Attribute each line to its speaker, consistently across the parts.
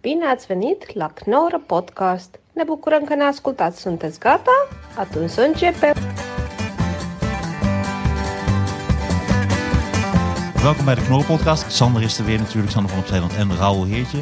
Speaker 1: Bine ați venit la Knorr Podcast! Ne bucurăm că ne ascultați! Sunteți gata? Atunci să începem!
Speaker 2: Welkom bij de Knorren-podcast. Sander is er weer natuurlijk, Sander van Opzeeland en Raoul Heertje.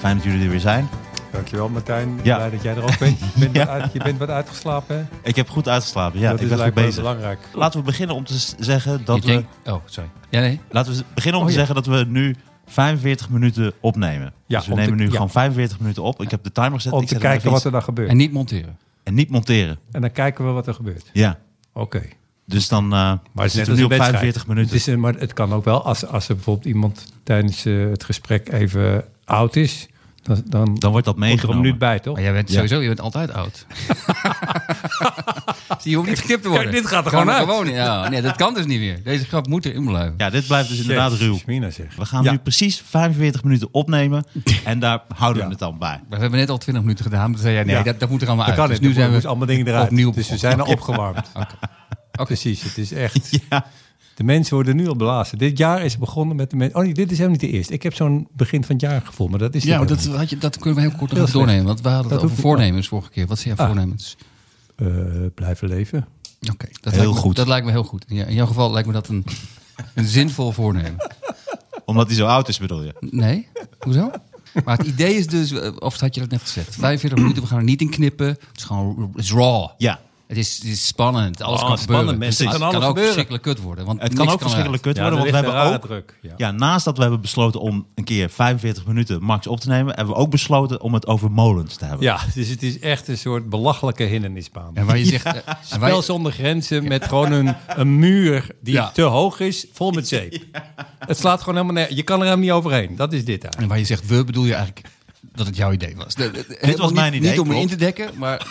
Speaker 2: Fijn dat jullie er weer zijn.
Speaker 3: Dankjewel Martijn.
Speaker 2: Ja.
Speaker 3: Blij dat jij er ook bent. Je bent,
Speaker 2: Ja.
Speaker 3: wat, uit- je bent wat uitgeslapen. hè?
Speaker 2: Ik heb goed uitgeslapen, ja,
Speaker 3: dat
Speaker 2: ik
Speaker 3: is
Speaker 2: ben goed
Speaker 3: lijkt me
Speaker 2: bezig.
Speaker 3: belangrijk.
Speaker 2: Laten we beginnen om te s- zeggen dat
Speaker 4: Ik
Speaker 2: we,
Speaker 4: denk- Oh, sorry. Ja, nee.
Speaker 2: laten we beginnen om
Speaker 3: Oh,
Speaker 2: te
Speaker 3: ja.
Speaker 2: zeggen dat we nu 45 minuten opnemen.
Speaker 3: Ja,
Speaker 2: dus we
Speaker 3: om
Speaker 2: nemen
Speaker 3: te-
Speaker 2: nu
Speaker 3: ja.
Speaker 2: gewoon 45 minuten op. Ik heb de timer gezet.
Speaker 3: Om
Speaker 2: ik
Speaker 3: te
Speaker 2: zet hem
Speaker 3: kijken
Speaker 2: even
Speaker 3: wat er dan gebeurt.
Speaker 4: En
Speaker 3: En,
Speaker 4: niet monteren.
Speaker 2: iets- En niet monteren.
Speaker 3: dan kijken we wat er gebeurt.
Speaker 2: Ja,
Speaker 3: Oké.
Speaker 2: dus dan eh
Speaker 3: Maar
Speaker 2: zitten we nu op 45 minuten.
Speaker 3: Het, is, een- maar het kan ook wel, als, als er bijvoorbeeld iemand tijdens eh, het gesprek even oud is, dan, dan,
Speaker 2: Dan wordt dat
Speaker 3: komt er een
Speaker 2: meegenomen. Ah
Speaker 3: minuut bij, toch?
Speaker 4: Maar jij bent
Speaker 2: Ja.
Speaker 4: sowieso, je bent altijd oud. dus je hoeft niet geknipt te worden.
Speaker 3: kijk, dit gaat er
Speaker 4: Kan
Speaker 3: gewoon uit.
Speaker 4: Gewoon, ja. Nee, dat kan dus niet meer. Deze grap moet erin blijven.
Speaker 2: Ja, dit blijft dus inderdaad
Speaker 3: Jezus,
Speaker 2: ruw.
Speaker 3: Mina zeg.
Speaker 2: We gaan
Speaker 3: Ja.
Speaker 2: nu precies 45 minuten opnemen en daar houden we
Speaker 3: Ja.
Speaker 2: het dan bij.
Speaker 4: Maar We hebben net al 20 minuten gedaan. Toen zei jij, nee,
Speaker 3: Ja.
Speaker 4: dat, dat moet er allemaal
Speaker 3: Dat
Speaker 4: uit.
Speaker 3: kan
Speaker 4: dus
Speaker 3: het.
Speaker 4: nu zijn we
Speaker 3: allemaal dingen eruit.
Speaker 4: opnieuw
Speaker 3: dus we
Speaker 4: begonnen.
Speaker 3: zijn al opgewarmd. Precies, het is echt...
Speaker 2: Ja.
Speaker 3: De mensen worden nu al belazen. Dit jaar is begonnen met de mensen... Oh nee, dit is helemaal niet de eerste. Ik heb zo'n begin van het jaar gevoel, maar dat is
Speaker 4: Ja,
Speaker 3: niet
Speaker 4: maar dat,
Speaker 3: helemaal.
Speaker 4: had je, dat kunnen we heel kort nog
Speaker 3: Heel
Speaker 4: even doornemen. Want we hadden
Speaker 3: Dat
Speaker 4: het over
Speaker 3: hoeft niet.
Speaker 4: voornemens vorige keer. Wat zijn jouw
Speaker 3: Ah.
Speaker 4: voornemens?
Speaker 3: Eh, blijven leven.
Speaker 4: Oké, dat,
Speaker 2: Heel
Speaker 4: lijkt me-
Speaker 2: goed.
Speaker 4: dat lijkt me heel goed. Ja, in jouw geval lijkt me dat een, een zinvol voornemen.
Speaker 2: Omdat hij zo oud is bedoel je?
Speaker 4: Nee? Hoezo? Maar het idee is dus, eh, of had je dat net gezegd? 45 minuten, we gaan er niet in knippen. Het is gewoon het is raw.
Speaker 2: Ja,
Speaker 4: Het is, het is spannend. Alles
Speaker 2: Oh,
Speaker 4: kan
Speaker 2: spannend,
Speaker 4: gebeuren.
Speaker 2: mensen.
Speaker 4: Dus
Speaker 2: Het kan
Speaker 4: het kan,
Speaker 2: alles
Speaker 4: ook
Speaker 2: gebeuren.
Speaker 4: verschrikkelijk kut worden. Want
Speaker 2: het kan
Speaker 4: niks
Speaker 2: ook verschrikkelijk
Speaker 4: eruit.
Speaker 2: kut worden, want we hebben ook
Speaker 3: druk. Ja.
Speaker 2: Ja, naast dat we hebben besloten om een keer 45 minuten max op te nemen, hebben we ook besloten om het over molens te hebben.
Speaker 3: Ja, dus het is echt een soort belachelijke hindernisbaan.
Speaker 4: En waar je zegt... eh, en waar je-
Speaker 3: Wel zonder grenzen, met gewoon een, een muur die
Speaker 4: Ja.
Speaker 3: te hoog is, vol met zeep. Het slaat gewoon helemaal neer. Je kan er helemaal niet overheen. Dat is dit eigenlijk.
Speaker 4: En waar je zegt we, bedoel je eigenlijk dat het jouw idee was. Dit
Speaker 2: was mijn idee,
Speaker 4: Niet om me in
Speaker 2: klopt.
Speaker 4: te dekken, maar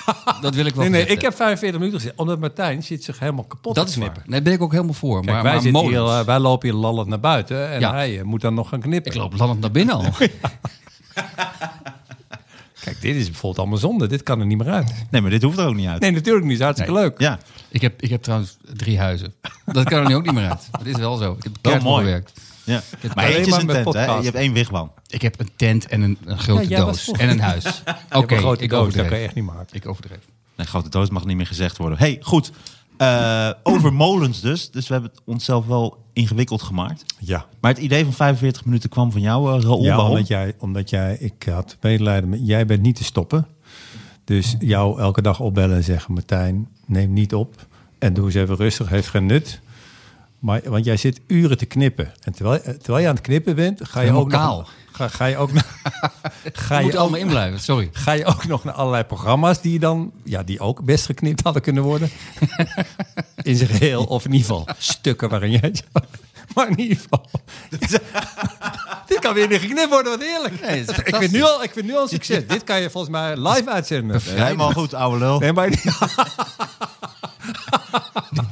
Speaker 4: dat wil ik wel
Speaker 3: Nee, nee,
Speaker 4: gezegd
Speaker 3: ik heb 45 minuten gezegd, omdat Martijn zit zich helemaal kapot
Speaker 4: Dat
Speaker 3: te
Speaker 4: is
Speaker 3: knippen.
Speaker 4: waar. Nee, ben ik ook helemaal voor.
Speaker 3: Kijk,
Speaker 4: maar
Speaker 3: wij,
Speaker 4: maar
Speaker 3: zitten hier,
Speaker 4: molens.
Speaker 3: eh, wij lopen hier lallend naar buiten en
Speaker 4: Ja.
Speaker 3: hij eh, moet dan nog gaan knippen.
Speaker 4: Ik loop lallend naar binnen al.
Speaker 3: Kijk, dit is bijvoorbeeld allemaal zonde. Dit kan er niet meer uit.
Speaker 2: Nee, maar dit hoeft er ook niet uit.
Speaker 3: Nee, natuurlijk niet. Het is hartstikke
Speaker 4: Nee.
Speaker 3: leuk.
Speaker 2: Ja,
Speaker 4: Ik heb, ik heb trouwens drie huizen. Dat kan er nu ook niet meer uit. Dat is wel zo. Ik heb
Speaker 2: wel
Speaker 4: keihard voor
Speaker 2: mooi.
Speaker 4: gewerkt.
Speaker 2: Ja. Maar
Speaker 3: alleen
Speaker 2: eentje is
Speaker 3: maar
Speaker 2: een
Speaker 3: met
Speaker 2: tent, hè? Je
Speaker 3: podcast.
Speaker 2: hebt één wigwam.
Speaker 4: Ik heb een tent en een, een grote
Speaker 3: Ja, jij was
Speaker 4: doos.
Speaker 3: voor.
Speaker 4: En een huis. Oké,
Speaker 3: Oké, grote doos, dat kan
Speaker 4: ik
Speaker 3: je
Speaker 4: overdreef.
Speaker 3: echt niet maken.
Speaker 4: Ik overdreef.
Speaker 2: Nee, grote doos mag niet meer gezegd worden. hey, goed. Eh, over molens dus. Dus we hebben het onszelf wel ingewikkeld gemaakt.
Speaker 3: Ja.
Speaker 2: Maar het idee van 45 minuten kwam van jou, eh Raoul.
Speaker 3: Ja,
Speaker 2: waarom?
Speaker 3: omdat jij, omdat jij, ik had medelijden met, jij bent niet te stoppen. Dus jou elke dag opbellen en zeggen, Martijn, neem niet op. En doe eens even rustig, heeft geen nut. Maar, want jij zit uren te knippen. En terwijl, eh, terwijl je aan het knippen bent, ga je
Speaker 4: Helemaal
Speaker 3: ook nog-
Speaker 4: kaal.
Speaker 3: Ga, ga je ook nog- ga
Speaker 4: Je
Speaker 3: je
Speaker 4: moet
Speaker 3: ook,
Speaker 4: allemaal in blijven, sorry.
Speaker 3: ga je ook nog naar allerlei programma's die je dan, ja, die ook best geknipt hadden kunnen worden. In zijn geheel, of in ieder geval stukken waarin jij. Maar in ieder geval. Dit kan weer niet geknipt worden, wat eerlijk.
Speaker 4: Nee, het is
Speaker 3: ik, vind nu al, ik vind nu al een succes. Dit kan je volgens mij live uitzenden.
Speaker 2: Nee, Helemaal goed, ouwe lul.
Speaker 3: Nee, maar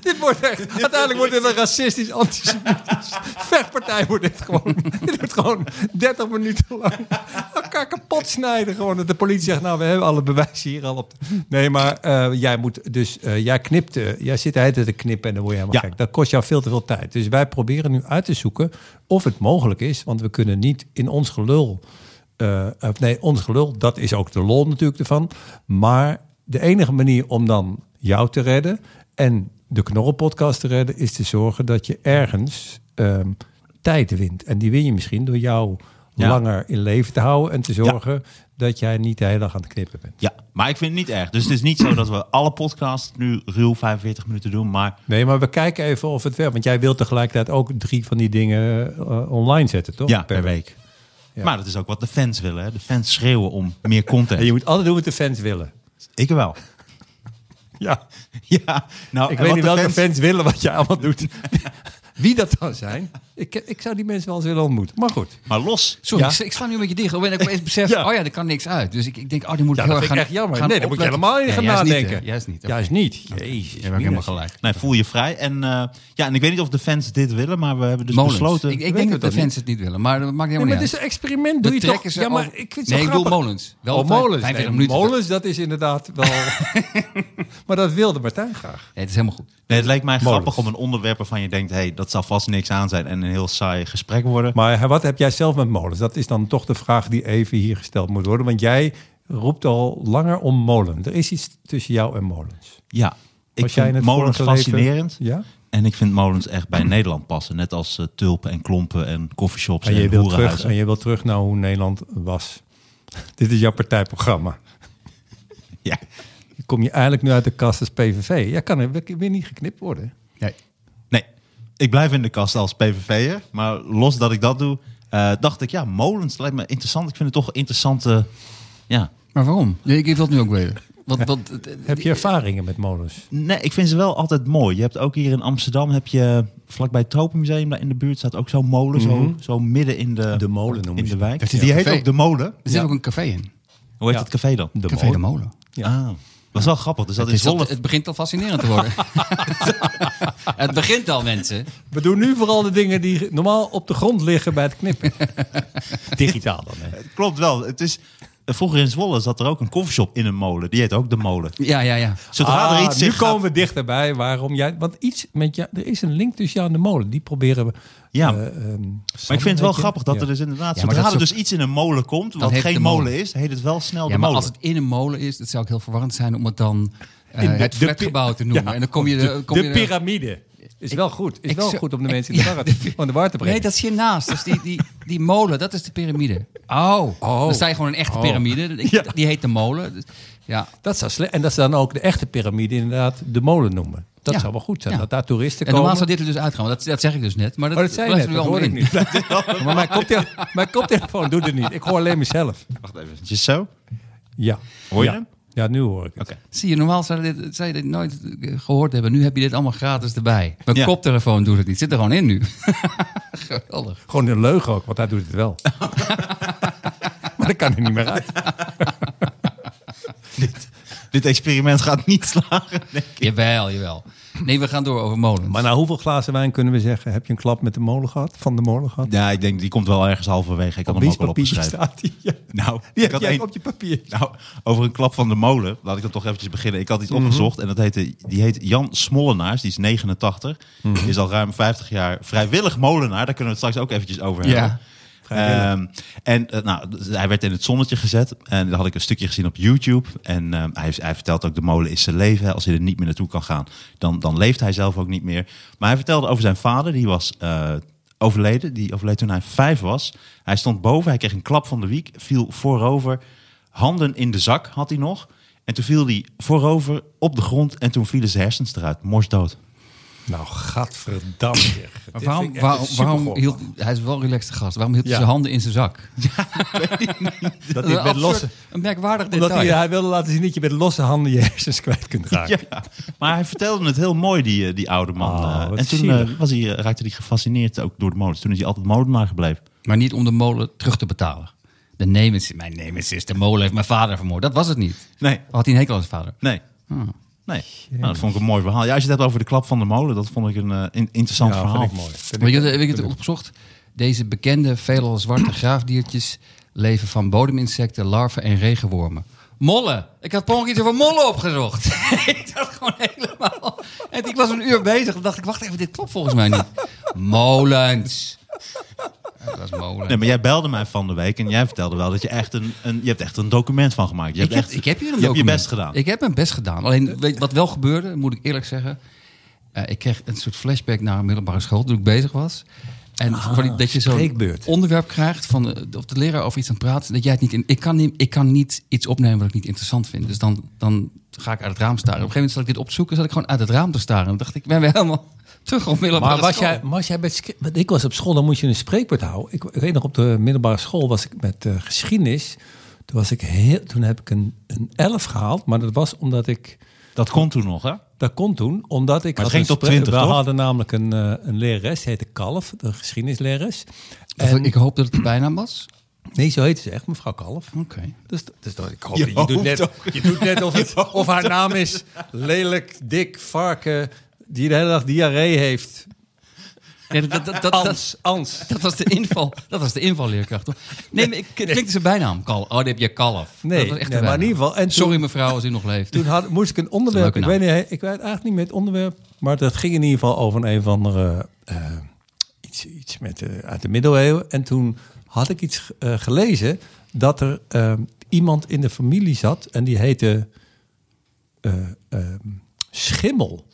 Speaker 3: dit wordt echt, uiteindelijk wordt dit een racistisch, antisemitisch vechtpartij wordt dit gewoon. Dit wordt gewoon 30 minuten lang elkaar kapot snijden. Gewoon dat de politie zegt, nou we hebben alle bewijzen hier al op. de- Nee, maar eh, jij moet dus, eh, jij knipt, eh, jij zit de hele tijd te knippen en dan word je helemaal
Speaker 2: Ja.
Speaker 3: gek. Dat kost jou veel te veel tijd. Dus wij proberen nu uit te zoeken of het mogelijk is, want we kunnen niet in ons gelul, eh, of nee, ons gelul, dat is ook de lol natuurlijk ervan. Maar de enige manier om dan jou te redden en de Knorrelpodcast te redden, is te zorgen dat je ergens ehm, tijd wint. En die win je misschien door jou
Speaker 2: Ja.
Speaker 3: langer in leven te houden en te zorgen dat jij niet de hele dag aan het knippen bent.
Speaker 2: Ja, maar ik vind het niet erg. Dus het is niet zo dat we alle podcasts nu ruw 45 minuten doen. Maar
Speaker 3: Nee, maar we kijken even of het werkt. Want jij wilt tegelijkertijd ook drie van die dingen eh, online zetten, toch?
Speaker 2: ja, per week. Maar dat is ook wat de fans willen. Hè? De fans schreeuwen om meer content.
Speaker 3: En je moet altijd doen wat de fans willen.
Speaker 2: Ik wel.
Speaker 3: Ja,
Speaker 2: Ja, nou,
Speaker 3: ik
Speaker 2: en
Speaker 3: weet
Speaker 2: wat
Speaker 3: niet
Speaker 2: de
Speaker 3: welke
Speaker 2: fans-
Speaker 3: fans... willen wat jij allemaal doet. Wie dat dan zijn. Ik, ik zou die mensen wel eens willen ontmoeten. Maar goed.
Speaker 2: Maar los.
Speaker 4: Sorry,
Speaker 3: Ja.
Speaker 4: ik, ik sla nu een beetje dicht. Oh, en ik opeens besef,
Speaker 3: Ja.
Speaker 4: oh ja, er kan niks uit. Dus ik, ik denk, oh, die moet
Speaker 3: Ja,
Speaker 4: ik heel
Speaker 3: dat vind
Speaker 4: erg gaan
Speaker 3: ik echt jammer.
Speaker 4: gaan
Speaker 3: nee, daar moet je
Speaker 4: opletten.
Speaker 3: helemaal niet gaan
Speaker 4: Nee, juist
Speaker 3: nadenken.
Speaker 4: Niet, hè. juist niet. oké.
Speaker 3: Juist niet. Jezus.
Speaker 4: Jij hebt ook helemaal gelijk.
Speaker 2: Nee, voel je vrij. En eh, ja, en ik weet niet of de fans dit willen, maar we hebben dus
Speaker 4: Molens.
Speaker 2: besloten.
Speaker 4: Ik,
Speaker 3: Weten
Speaker 4: ik denk
Speaker 3: we
Speaker 4: dat de
Speaker 3: dat
Speaker 4: fans het niet willen, maar dat maakt
Speaker 3: Nee,
Speaker 4: helemaal
Speaker 3: maar
Speaker 4: niet
Speaker 3: het is
Speaker 4: uit.
Speaker 3: een experiment. Doe
Speaker 4: We
Speaker 3: je toch?
Speaker 4: trekken ze
Speaker 3: Ja, maar
Speaker 4: over-
Speaker 3: ik vind het
Speaker 4: Nee,
Speaker 3: zo
Speaker 4: ik bedoel
Speaker 3: grappig.
Speaker 4: molens. Wel
Speaker 3: oh,
Speaker 4: vijf-
Speaker 3: molens.
Speaker 4: 45
Speaker 3: Nee,
Speaker 4: minuten.
Speaker 3: Molens, dat is inderdaad wel... maar dat wilde Martijn graag.
Speaker 4: Nee, het is helemaal goed.
Speaker 2: Nee, het lijkt mij
Speaker 3: Molens.
Speaker 2: grappig om een onderwerp waarvan je denkt: hé, hey, dat zal vast niks aan zijn. En een heel saai gesprek worden.
Speaker 3: Maar wat heb jij zelf met molens? Dat is dan toch de vraag die even hier gesteld moet worden. Want jij roept al langer om molen. Er is iets tussen jou en molens.
Speaker 2: ja, ik
Speaker 3: Was jij in
Speaker 2: vind
Speaker 3: het
Speaker 2: molens
Speaker 3: vorige leven-
Speaker 2: fascinerend.
Speaker 3: Ja?
Speaker 2: En ik vind molens echt bij Nederland passen. Net als eh, tulpen en klompen en coffeeshops
Speaker 3: En
Speaker 2: en,
Speaker 3: je, wilt terug,
Speaker 2: hoerenhuizen.
Speaker 3: en je wilt terug naar hoe Nederland was. Dit is jouw partijprogramma.
Speaker 2: Ja.
Speaker 3: Kom je eigenlijk nu uit de kast als PVV? Ja, kan er weer- weer niet geknipt worden.
Speaker 4: Nee.
Speaker 2: Nee, ik blijf in de kast als PVV'er. Maar los dat ik dat doe, eh, dacht ik, ja, molens lijkt me interessant. Ik vind het toch interessante... Ja.
Speaker 4: Maar waarom? Nee, ik wil het nu ook weten. Wat, wat, het- het-
Speaker 3: Heb je ervaringen met molens?
Speaker 2: Nee, ik vind ze wel altijd mooi. Je hebt ook hier in Amsterdam, heb je vlakbij het Tropenmuseum, daar in de buurt staat ook zo'n molen. Zo, zo midden in de,
Speaker 3: Mhm. De molen noemen
Speaker 2: in de
Speaker 3: ze
Speaker 2: wijk.
Speaker 4: Dat is
Speaker 2: Die
Speaker 4: een
Speaker 2: heet
Speaker 4: café.
Speaker 2: ook De Molen.
Speaker 4: er zit
Speaker 3: Ja.
Speaker 4: ook een café in.
Speaker 2: Hoe heet
Speaker 3: Ja.
Speaker 2: het café dan?
Speaker 3: De
Speaker 4: Café De Molen.
Speaker 2: Ah, dat is wel grappig. Dus dat
Speaker 4: Het,
Speaker 2: is
Speaker 4: is al-
Speaker 2: Zwolle.
Speaker 4: het begint al fascinerend te worden. het begint al, mensen.
Speaker 3: We doen nu vooral de dingen die normaal op de grond liggen bij het knippen. Digitaal dan. Hè.
Speaker 2: Klopt wel. Het is, eh, vroeger in Zwolle zat er ook een koffieshop in een molen. Die heet ook De Molen.
Speaker 4: Ja, ja, ja.
Speaker 2: Zodra
Speaker 3: Ah,
Speaker 2: er iets
Speaker 3: nu
Speaker 2: zich gaat-
Speaker 3: komen we dichterbij waarom jij. Want iets met jou, er is een link tussen jou en de molen. Die proberen we.
Speaker 2: Ja.
Speaker 3: eh, ehm,
Speaker 2: Maar ik
Speaker 3: samen,
Speaker 2: vind het wel
Speaker 3: weet je?
Speaker 2: grappig dat
Speaker 3: Ja.
Speaker 2: er dus inderdaad...
Speaker 4: Ja, maar
Speaker 2: zodra
Speaker 4: dat
Speaker 2: er
Speaker 4: is
Speaker 2: dus iets in een molen komt, wat
Speaker 4: heet
Speaker 2: geen
Speaker 4: de
Speaker 2: molen
Speaker 4: molen.
Speaker 2: is, heet het wel snel
Speaker 4: Ja,
Speaker 2: de
Speaker 4: maar
Speaker 2: molen.
Speaker 4: als het in een molen is, dat zou ook heel verwarrend zijn om het dan eh,
Speaker 3: In de-
Speaker 4: het
Speaker 3: de pi-
Speaker 4: flatgebouw te noemen.
Speaker 3: Ja,
Speaker 4: en dan kom je de, kom
Speaker 3: de
Speaker 4: je de-
Speaker 3: piramide is wel goed. Is
Speaker 4: ik
Speaker 3: wel
Speaker 4: zo-
Speaker 3: goed om de
Speaker 4: ik-
Speaker 3: mensen in de,
Speaker 4: ja,
Speaker 3: war,
Speaker 4: de-
Speaker 3: van de war te brengen.
Speaker 4: Nee, dat is hiernaast. Dat is die, die, die molen, dat is de piramide. Oh, dan sta je gewoon een echte
Speaker 3: Oh.
Speaker 4: piramide. Ik-
Speaker 3: Ja.
Speaker 4: Die heet de molen. Dus- Ja,
Speaker 3: Dat zou sle- en dat ze dan ook de echte piramide inderdaad de molen noemen. Dat
Speaker 4: Ja.
Speaker 3: zou wel goed zijn.
Speaker 4: Ja.
Speaker 3: Dat daar toeristen
Speaker 4: en
Speaker 3: komen.
Speaker 4: normaal zou dit er dus uitgaan, want dat, dat zeg ik dus net. Maar dat,
Speaker 3: Oh, dat zei je
Speaker 4: blijft
Speaker 3: net,
Speaker 4: er
Speaker 3: dat
Speaker 4: wel
Speaker 3: hoor ik
Speaker 4: in.
Speaker 3: niet. maar mijn, koptele- mijn koptelefoon doet het niet. Ik hoor alleen mezelf.
Speaker 2: Wacht even. Zo?
Speaker 3: Ja.
Speaker 2: Hoor je
Speaker 3: ja.
Speaker 2: hem?
Speaker 3: Ja, nu hoor ik het.
Speaker 2: Oké.
Speaker 4: Zie je, normaal zou, dit, zou je dit nooit eh, gehoord hebben. Nu heb je dit allemaal gratis erbij. Mijn
Speaker 2: Ja.
Speaker 4: koptelefoon doet het niet. Zit er gewoon in nu. Geweldig.
Speaker 3: Gewoon een leugen ook, want hij doet het wel. maar dat kan er niet meer uit.
Speaker 2: dit, dit experiment gaat niet slagen. Nee.
Speaker 4: Jawel, jawel. Nee, we gaan door over molens.
Speaker 3: Maar na hoeveel glazen wijn kunnen we zeggen... heb je een klap met de molen gehad? Van de molen gehad?
Speaker 2: Ja, ik denk, die komt wel ergens halverwege. Ik had hem ook al
Speaker 3: Biespapier
Speaker 2: opgeschreven.
Speaker 3: staat die. Ja.
Speaker 2: Nou,
Speaker 3: Die
Speaker 2: ik
Speaker 3: heb
Speaker 2: had
Speaker 3: jij
Speaker 2: één-
Speaker 3: op je papier.
Speaker 2: Nou, over een klap van de molen. Laat ik dan toch eventjes beginnen. Ik had
Speaker 3: Mhm.
Speaker 2: iets opgezocht en dat heette, die heet Jan Smollenaars. Die is 89.
Speaker 3: Mhm.
Speaker 2: Is al ruim 50 jaar vrijwillig molenaar. Daar kunnen we het straks ook eventjes over
Speaker 4: Ja,
Speaker 2: hebben. Ehm, en eh, nou, d- hij werd in het zonnetje gezet. En dat had ik een stukje gezien op YouTube. En ehm, hij, hij vertelt ook, de molen is zijn leven. hè. Als hij er niet meer naartoe kan gaan, dan, dan leeft hij zelf ook niet meer. Maar hij vertelde over zijn vader. Die was eh, overleden. Die overleed toen hij vijf was. Hij stond boven. Hij kreeg een klap van de wiek. Viel voorover. Handen in de zak had hij nog. En toen viel hij voorover op de grond. En toen vielen zijn hersens eruit. Morsdood.
Speaker 3: Nou, gadverdamme. zeg.
Speaker 4: Maar
Speaker 3: Dit
Speaker 4: waarom,
Speaker 3: vind ik echt
Speaker 4: waarom,
Speaker 3: een
Speaker 4: waarom
Speaker 3: supergolf.
Speaker 4: hield hij is wel een relaxte gast? Waarom hield hij
Speaker 3: Ja.
Speaker 4: zijn handen in zijn zak?
Speaker 3: Dat hij
Speaker 4: Een
Speaker 3: met
Speaker 4: absurd-
Speaker 3: losse...
Speaker 4: Een merkwaardig
Speaker 3: Omdat hij,
Speaker 4: detail.
Speaker 3: hij wilde laten zien dat je met losse handen je hersens kwijt kunt raken.
Speaker 2: Ja, maar hij vertelde het heel mooi, die, eh, die oude man.
Speaker 3: Oh,
Speaker 2: Eh,
Speaker 3: wat
Speaker 2: en toen
Speaker 3: zielig.
Speaker 2: eh, was hij, eh, raakte hij gefascineerd ook door de molens. Toen is hij altijd molenaar gebleven.
Speaker 4: Maar niet om de molen terug te betalen. De nemesis, mijn nemesis, de molen heeft mijn vader vermoord. Dat was het niet.
Speaker 2: Nee,
Speaker 4: Had hij een hekel aan zijn vader?
Speaker 2: nee.
Speaker 3: Oh,
Speaker 2: Nee, nou, dat vond ik een mooi verhaal. Ja, als je het hebt over de klap van de molen, dat vond ik een eh, in- interessant
Speaker 3: Ja,
Speaker 2: verhaal.
Speaker 3: vind ik mooi. Vind
Speaker 4: Weet
Speaker 3: ik-
Speaker 4: je, wat- weet je wat ik heb opgezocht? Deze bekende, veelal zwarte graafdiertjes leven van bodeminsecten, larven en regenwormen. Mollen! Ik had per ongeluk iets over mollen opgezocht. ik dacht gewoon helemaal... En ik was een uur bezig. Toen dacht ik, wacht even, dit klopt volgens mij niet. Molens! Dat was molen.
Speaker 2: Nee, maar jij belde mij van de week en jij vertelde wel dat je echt een, een je hebt echt een document van gemaakt. Je
Speaker 4: Ik
Speaker 2: hebt
Speaker 4: heb,
Speaker 2: echt,
Speaker 4: ik heb hier een
Speaker 2: je hebt je
Speaker 4: document.
Speaker 2: best gedaan.
Speaker 4: Ik heb mijn best gedaan. Alleen weet, je wat wel gebeurde, moet ik eerlijk zeggen. Eh, ik kreeg een soort flashback naar een middelbare school toen ik bezig was. En
Speaker 2: Ah,
Speaker 4: van die- dat je zo'n
Speaker 3: spreekbeurt.
Speaker 4: onderwerp krijgt van de, of de leraar over iets aan het praten. Dat jij het niet in. Ik kan niet, ik kan niet iets opnemen wat ik niet interessant vind. Dus dan, dan ga ik uit het raam staren. Op een gegeven moment zat ik dit opzoeken, zat ik gewoon uit het raam te staren. En dan dacht ik, ben weer helemaal terug op middelbare
Speaker 3: Maar was
Speaker 4: school.
Speaker 3: jij, was jij bij sk- want ik was op school, dan moest je een spreekwoord houden. Ik, ik weet nog, op de middelbare school was ik met eh, geschiedenis. Toen, was ik heel, toen heb ik een, een elf gehaald, maar dat was omdat ik...
Speaker 2: Dat kon toen nog, hè?
Speaker 3: Dat kon toen, omdat ik
Speaker 2: Maar het ging
Speaker 3: had
Speaker 2: tot
Speaker 3: een spree-
Speaker 2: 20,
Speaker 3: We
Speaker 2: toch?
Speaker 3: hadden namelijk een, eh, een lerares, die heette Kalf, de geschiedenislerares.
Speaker 4: Of
Speaker 3: En,
Speaker 4: Ik hoop dat het er bijna was.
Speaker 3: nee, zo heette ze echt, mevrouw Kalf.
Speaker 4: Oké.
Speaker 3: Dus, dus dat, ik hoop,
Speaker 2: Je
Speaker 3: je, doet
Speaker 2: hoopt
Speaker 3: net, je doet net of, het- of haar naam is lelijk, dik, varken, die de hele dag diarree heeft.
Speaker 4: Nee, dat, dat, dat, dat,
Speaker 3: Ans, ans.
Speaker 4: Dat was de inval. Dat was de invalleerkracht, toch? Nee, maar ik het klinkt zijn bijnaam. Kal. Oh, dit heb je kalf.
Speaker 3: Nee,
Speaker 4: dat was echt
Speaker 3: nee,
Speaker 4: een
Speaker 3: maar in
Speaker 4: bijnaam.
Speaker 3: ieder geval- en toen-
Speaker 4: Sorry mevrouw, als u nog leeft.
Speaker 3: Toen had, moest ik een onderwerp.
Speaker 4: Leuke
Speaker 3: Ik
Speaker 4: naam.
Speaker 3: weet, niet, ik weet eigenlijk niet meer het onderwerp. Maar dat ging in ieder geval over een, een of andere. eh, iets, iets met, eh, uit de middeleeuwen. En toen had ik iets eh, gelezen dat er eh, iemand in de familie zat en die heette eh, ehm, Schimmel.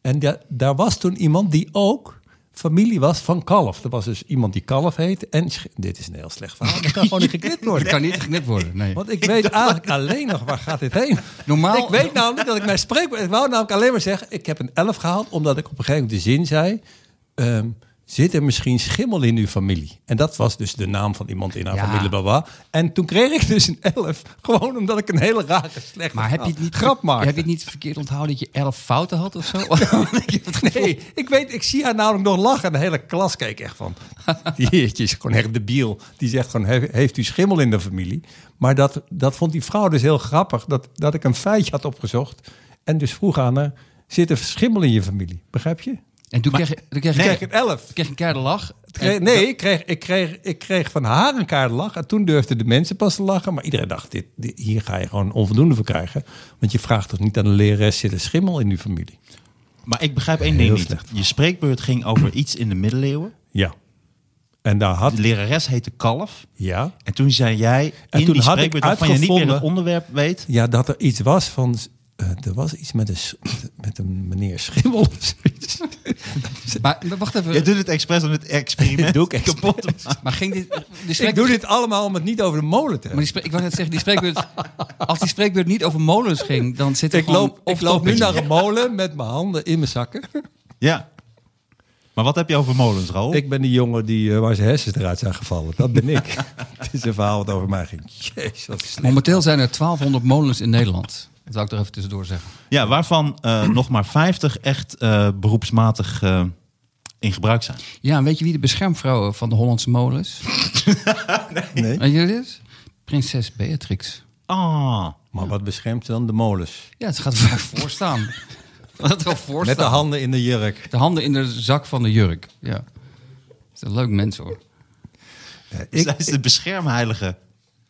Speaker 3: En da- daar was toen iemand die ook familie was van Kalf. Er was dus iemand die Kalf heet en... Sch- Dit is een heel slecht verhaal, dat kan gewoon niet geknipt worden.
Speaker 4: Het kan niet geknipt worden, nee.
Speaker 3: Want ik weet eigenlijk alleen nog waar gaat dit heen.
Speaker 4: Normaal-
Speaker 3: Ik weet namelijk dat ik mijn spreekwoord... Ik wou namelijk alleen maar zeggen, ik heb een 11 gehaald... omdat ik op een gegeven moment de zin zei... ehm, zit er misschien schimmel in uw familie? En dat was dus de naam van iemand in haar
Speaker 4: Ja.
Speaker 3: familie. Baba. En toen kreeg ik dus een 11. Gewoon omdat ik een hele rare slechte
Speaker 4: Maar heb je het niet,
Speaker 3: grap maakte.
Speaker 4: Heb je het niet verkeerd onthouden dat je elf fouten had of zo?
Speaker 3: Nee, ik weet, ik zie haar namelijk nog lachen. En de hele klas keek echt van. Die heertje is gewoon echt debiel. Die zegt gewoon, "He- heeft u schimmel in de familie? Maar dat, dat vond die vrouw dus heel grappig. Dat, dat ik een feitje had opgezocht. En dus vroeg aan haar, zit er schimmel in je familie? Begrijp je?
Speaker 4: en toen kreeg je, toen kreeg je,
Speaker 3: Ik
Speaker 4: toen
Speaker 3: kreeg een elf.
Speaker 4: kreeg je een keiharde lach.
Speaker 3: Ik kreeg- nee, ik kreeg, ik, kreeg, ik kreeg van haar een kaart lachen. En toen durfden de mensen pas te lachen. Maar iedereen dacht, dit, dit- hier ga je gewoon onvoldoende voor krijgen. Want je vraagt toch niet aan de lerares, zit er schimmel in uw familie?
Speaker 2: Maar ik begrijp één
Speaker 3: Heel
Speaker 2: ding niet.
Speaker 3: slecht
Speaker 2: Je spreekbeurt ging over iets in de middeleeuwen.
Speaker 3: Ja. En daar had...
Speaker 2: De lerares heette Kalf.
Speaker 3: Ja.
Speaker 2: En toen zei jij
Speaker 3: En
Speaker 2: in
Speaker 3: toen
Speaker 2: die
Speaker 3: had ik
Speaker 2: spreekbeurt waarvan je niet meer het
Speaker 3: uitgevonden-
Speaker 2: onderwerp weet.
Speaker 3: Ja, dat er iets was van. eh, er was iets met een, s- met een meneer Schimmel of zoiets.
Speaker 4: Maar maar wacht even.
Speaker 2: Je doet het expres om het experiment
Speaker 3: Eh. Doe ik expres.
Speaker 2: kapot te maken.
Speaker 4: Maar ging dit... Die
Speaker 3: dus- Ik
Speaker 4: spreek-
Speaker 3: doe dit allemaal om het niet over de molen te
Speaker 4: Maar die
Speaker 3: hebben.
Speaker 4: spreek, ik wou net zeggen, die spreekbeurt, als die spreekbeurt niet over molens ging, dan zit er
Speaker 3: Ik
Speaker 4: gewoon...
Speaker 3: loop, ik
Speaker 4: off-topic.
Speaker 3: loop nu naar een molen met mijn handen in mijn zakken.
Speaker 2: Ja. Maar wat heb je over molens, Raoul?
Speaker 3: Ik ben die jongen die, eh, waar zijn hersens eruit zijn gevallen. Dat ben ik. het is een verhaal wat over mij ging. Jezus, wat slecht.
Speaker 4: Momenteel zijn er 1200 molens in Nederland. Dat wil ik er even tussendoor zeggen.
Speaker 2: Ja, waarvan eh, nog maar 50 echt eh, beroepsmatig eh, in gebruik zijn.
Speaker 4: Ja, en weet je wie de beschermvrouw van de Hollandse molens?
Speaker 3: Nee.
Speaker 4: Weet je wie dat is? Prinses Beatrix.
Speaker 2: Ah,
Speaker 3: Maar wat beschermt dan de molens?
Speaker 4: Ja, het gaat vaak voorstaan. Dat wel voorstaan.
Speaker 3: Met de handen in de jurk.
Speaker 4: De handen in de zak van de jurk. Ja. Dat is een leuk mens hoor.
Speaker 3: Ik,
Speaker 2: zij is de beschermheilige.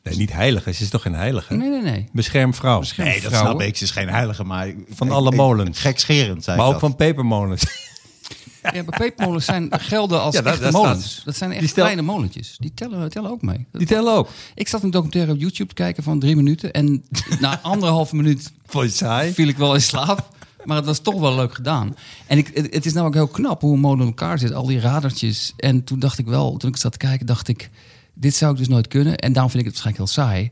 Speaker 3: nee, niet heilige. Ze is toch geen heilige?
Speaker 4: Nee, nee, nee.
Speaker 3: Beschermvrouw.
Speaker 4: Bescherm-
Speaker 2: Nee, dat
Speaker 4: Vrouwen.
Speaker 2: snap ik. Ze is geen heilige, maar... ik-
Speaker 3: Van
Speaker 2: ik-
Speaker 3: alle
Speaker 2: ik-
Speaker 3: molens.
Speaker 2: Gekscherend, zei
Speaker 3: Maar
Speaker 2: ik
Speaker 3: ook
Speaker 2: dat.
Speaker 3: van pepermolens.
Speaker 4: Ja, maar pepermolens zijn, gelden als
Speaker 3: Ja, daar-
Speaker 4: echte
Speaker 3: daar
Speaker 4: molens.
Speaker 3: staat.
Speaker 4: Dat zijn echt
Speaker 3: Die stel-
Speaker 4: kleine molentjes. Die tellen, tellen ook mee.
Speaker 3: Die tellen ook.
Speaker 4: Ik zat een documentaire op YouTube te kijken van drie minuten. En na anderhalf minuut
Speaker 3: Voor je saai.
Speaker 4: viel ik wel in slaap. Maar het was toch wel leuk gedaan. En ik, het, het is namelijk heel knap hoe een molen in elkaar zit. Al die radertjes. En toen dacht ik wel, toen ik zat te kijken, dacht ik... Dit zou ik dus nooit kunnen. En daarom vind ik het waarschijnlijk heel saai.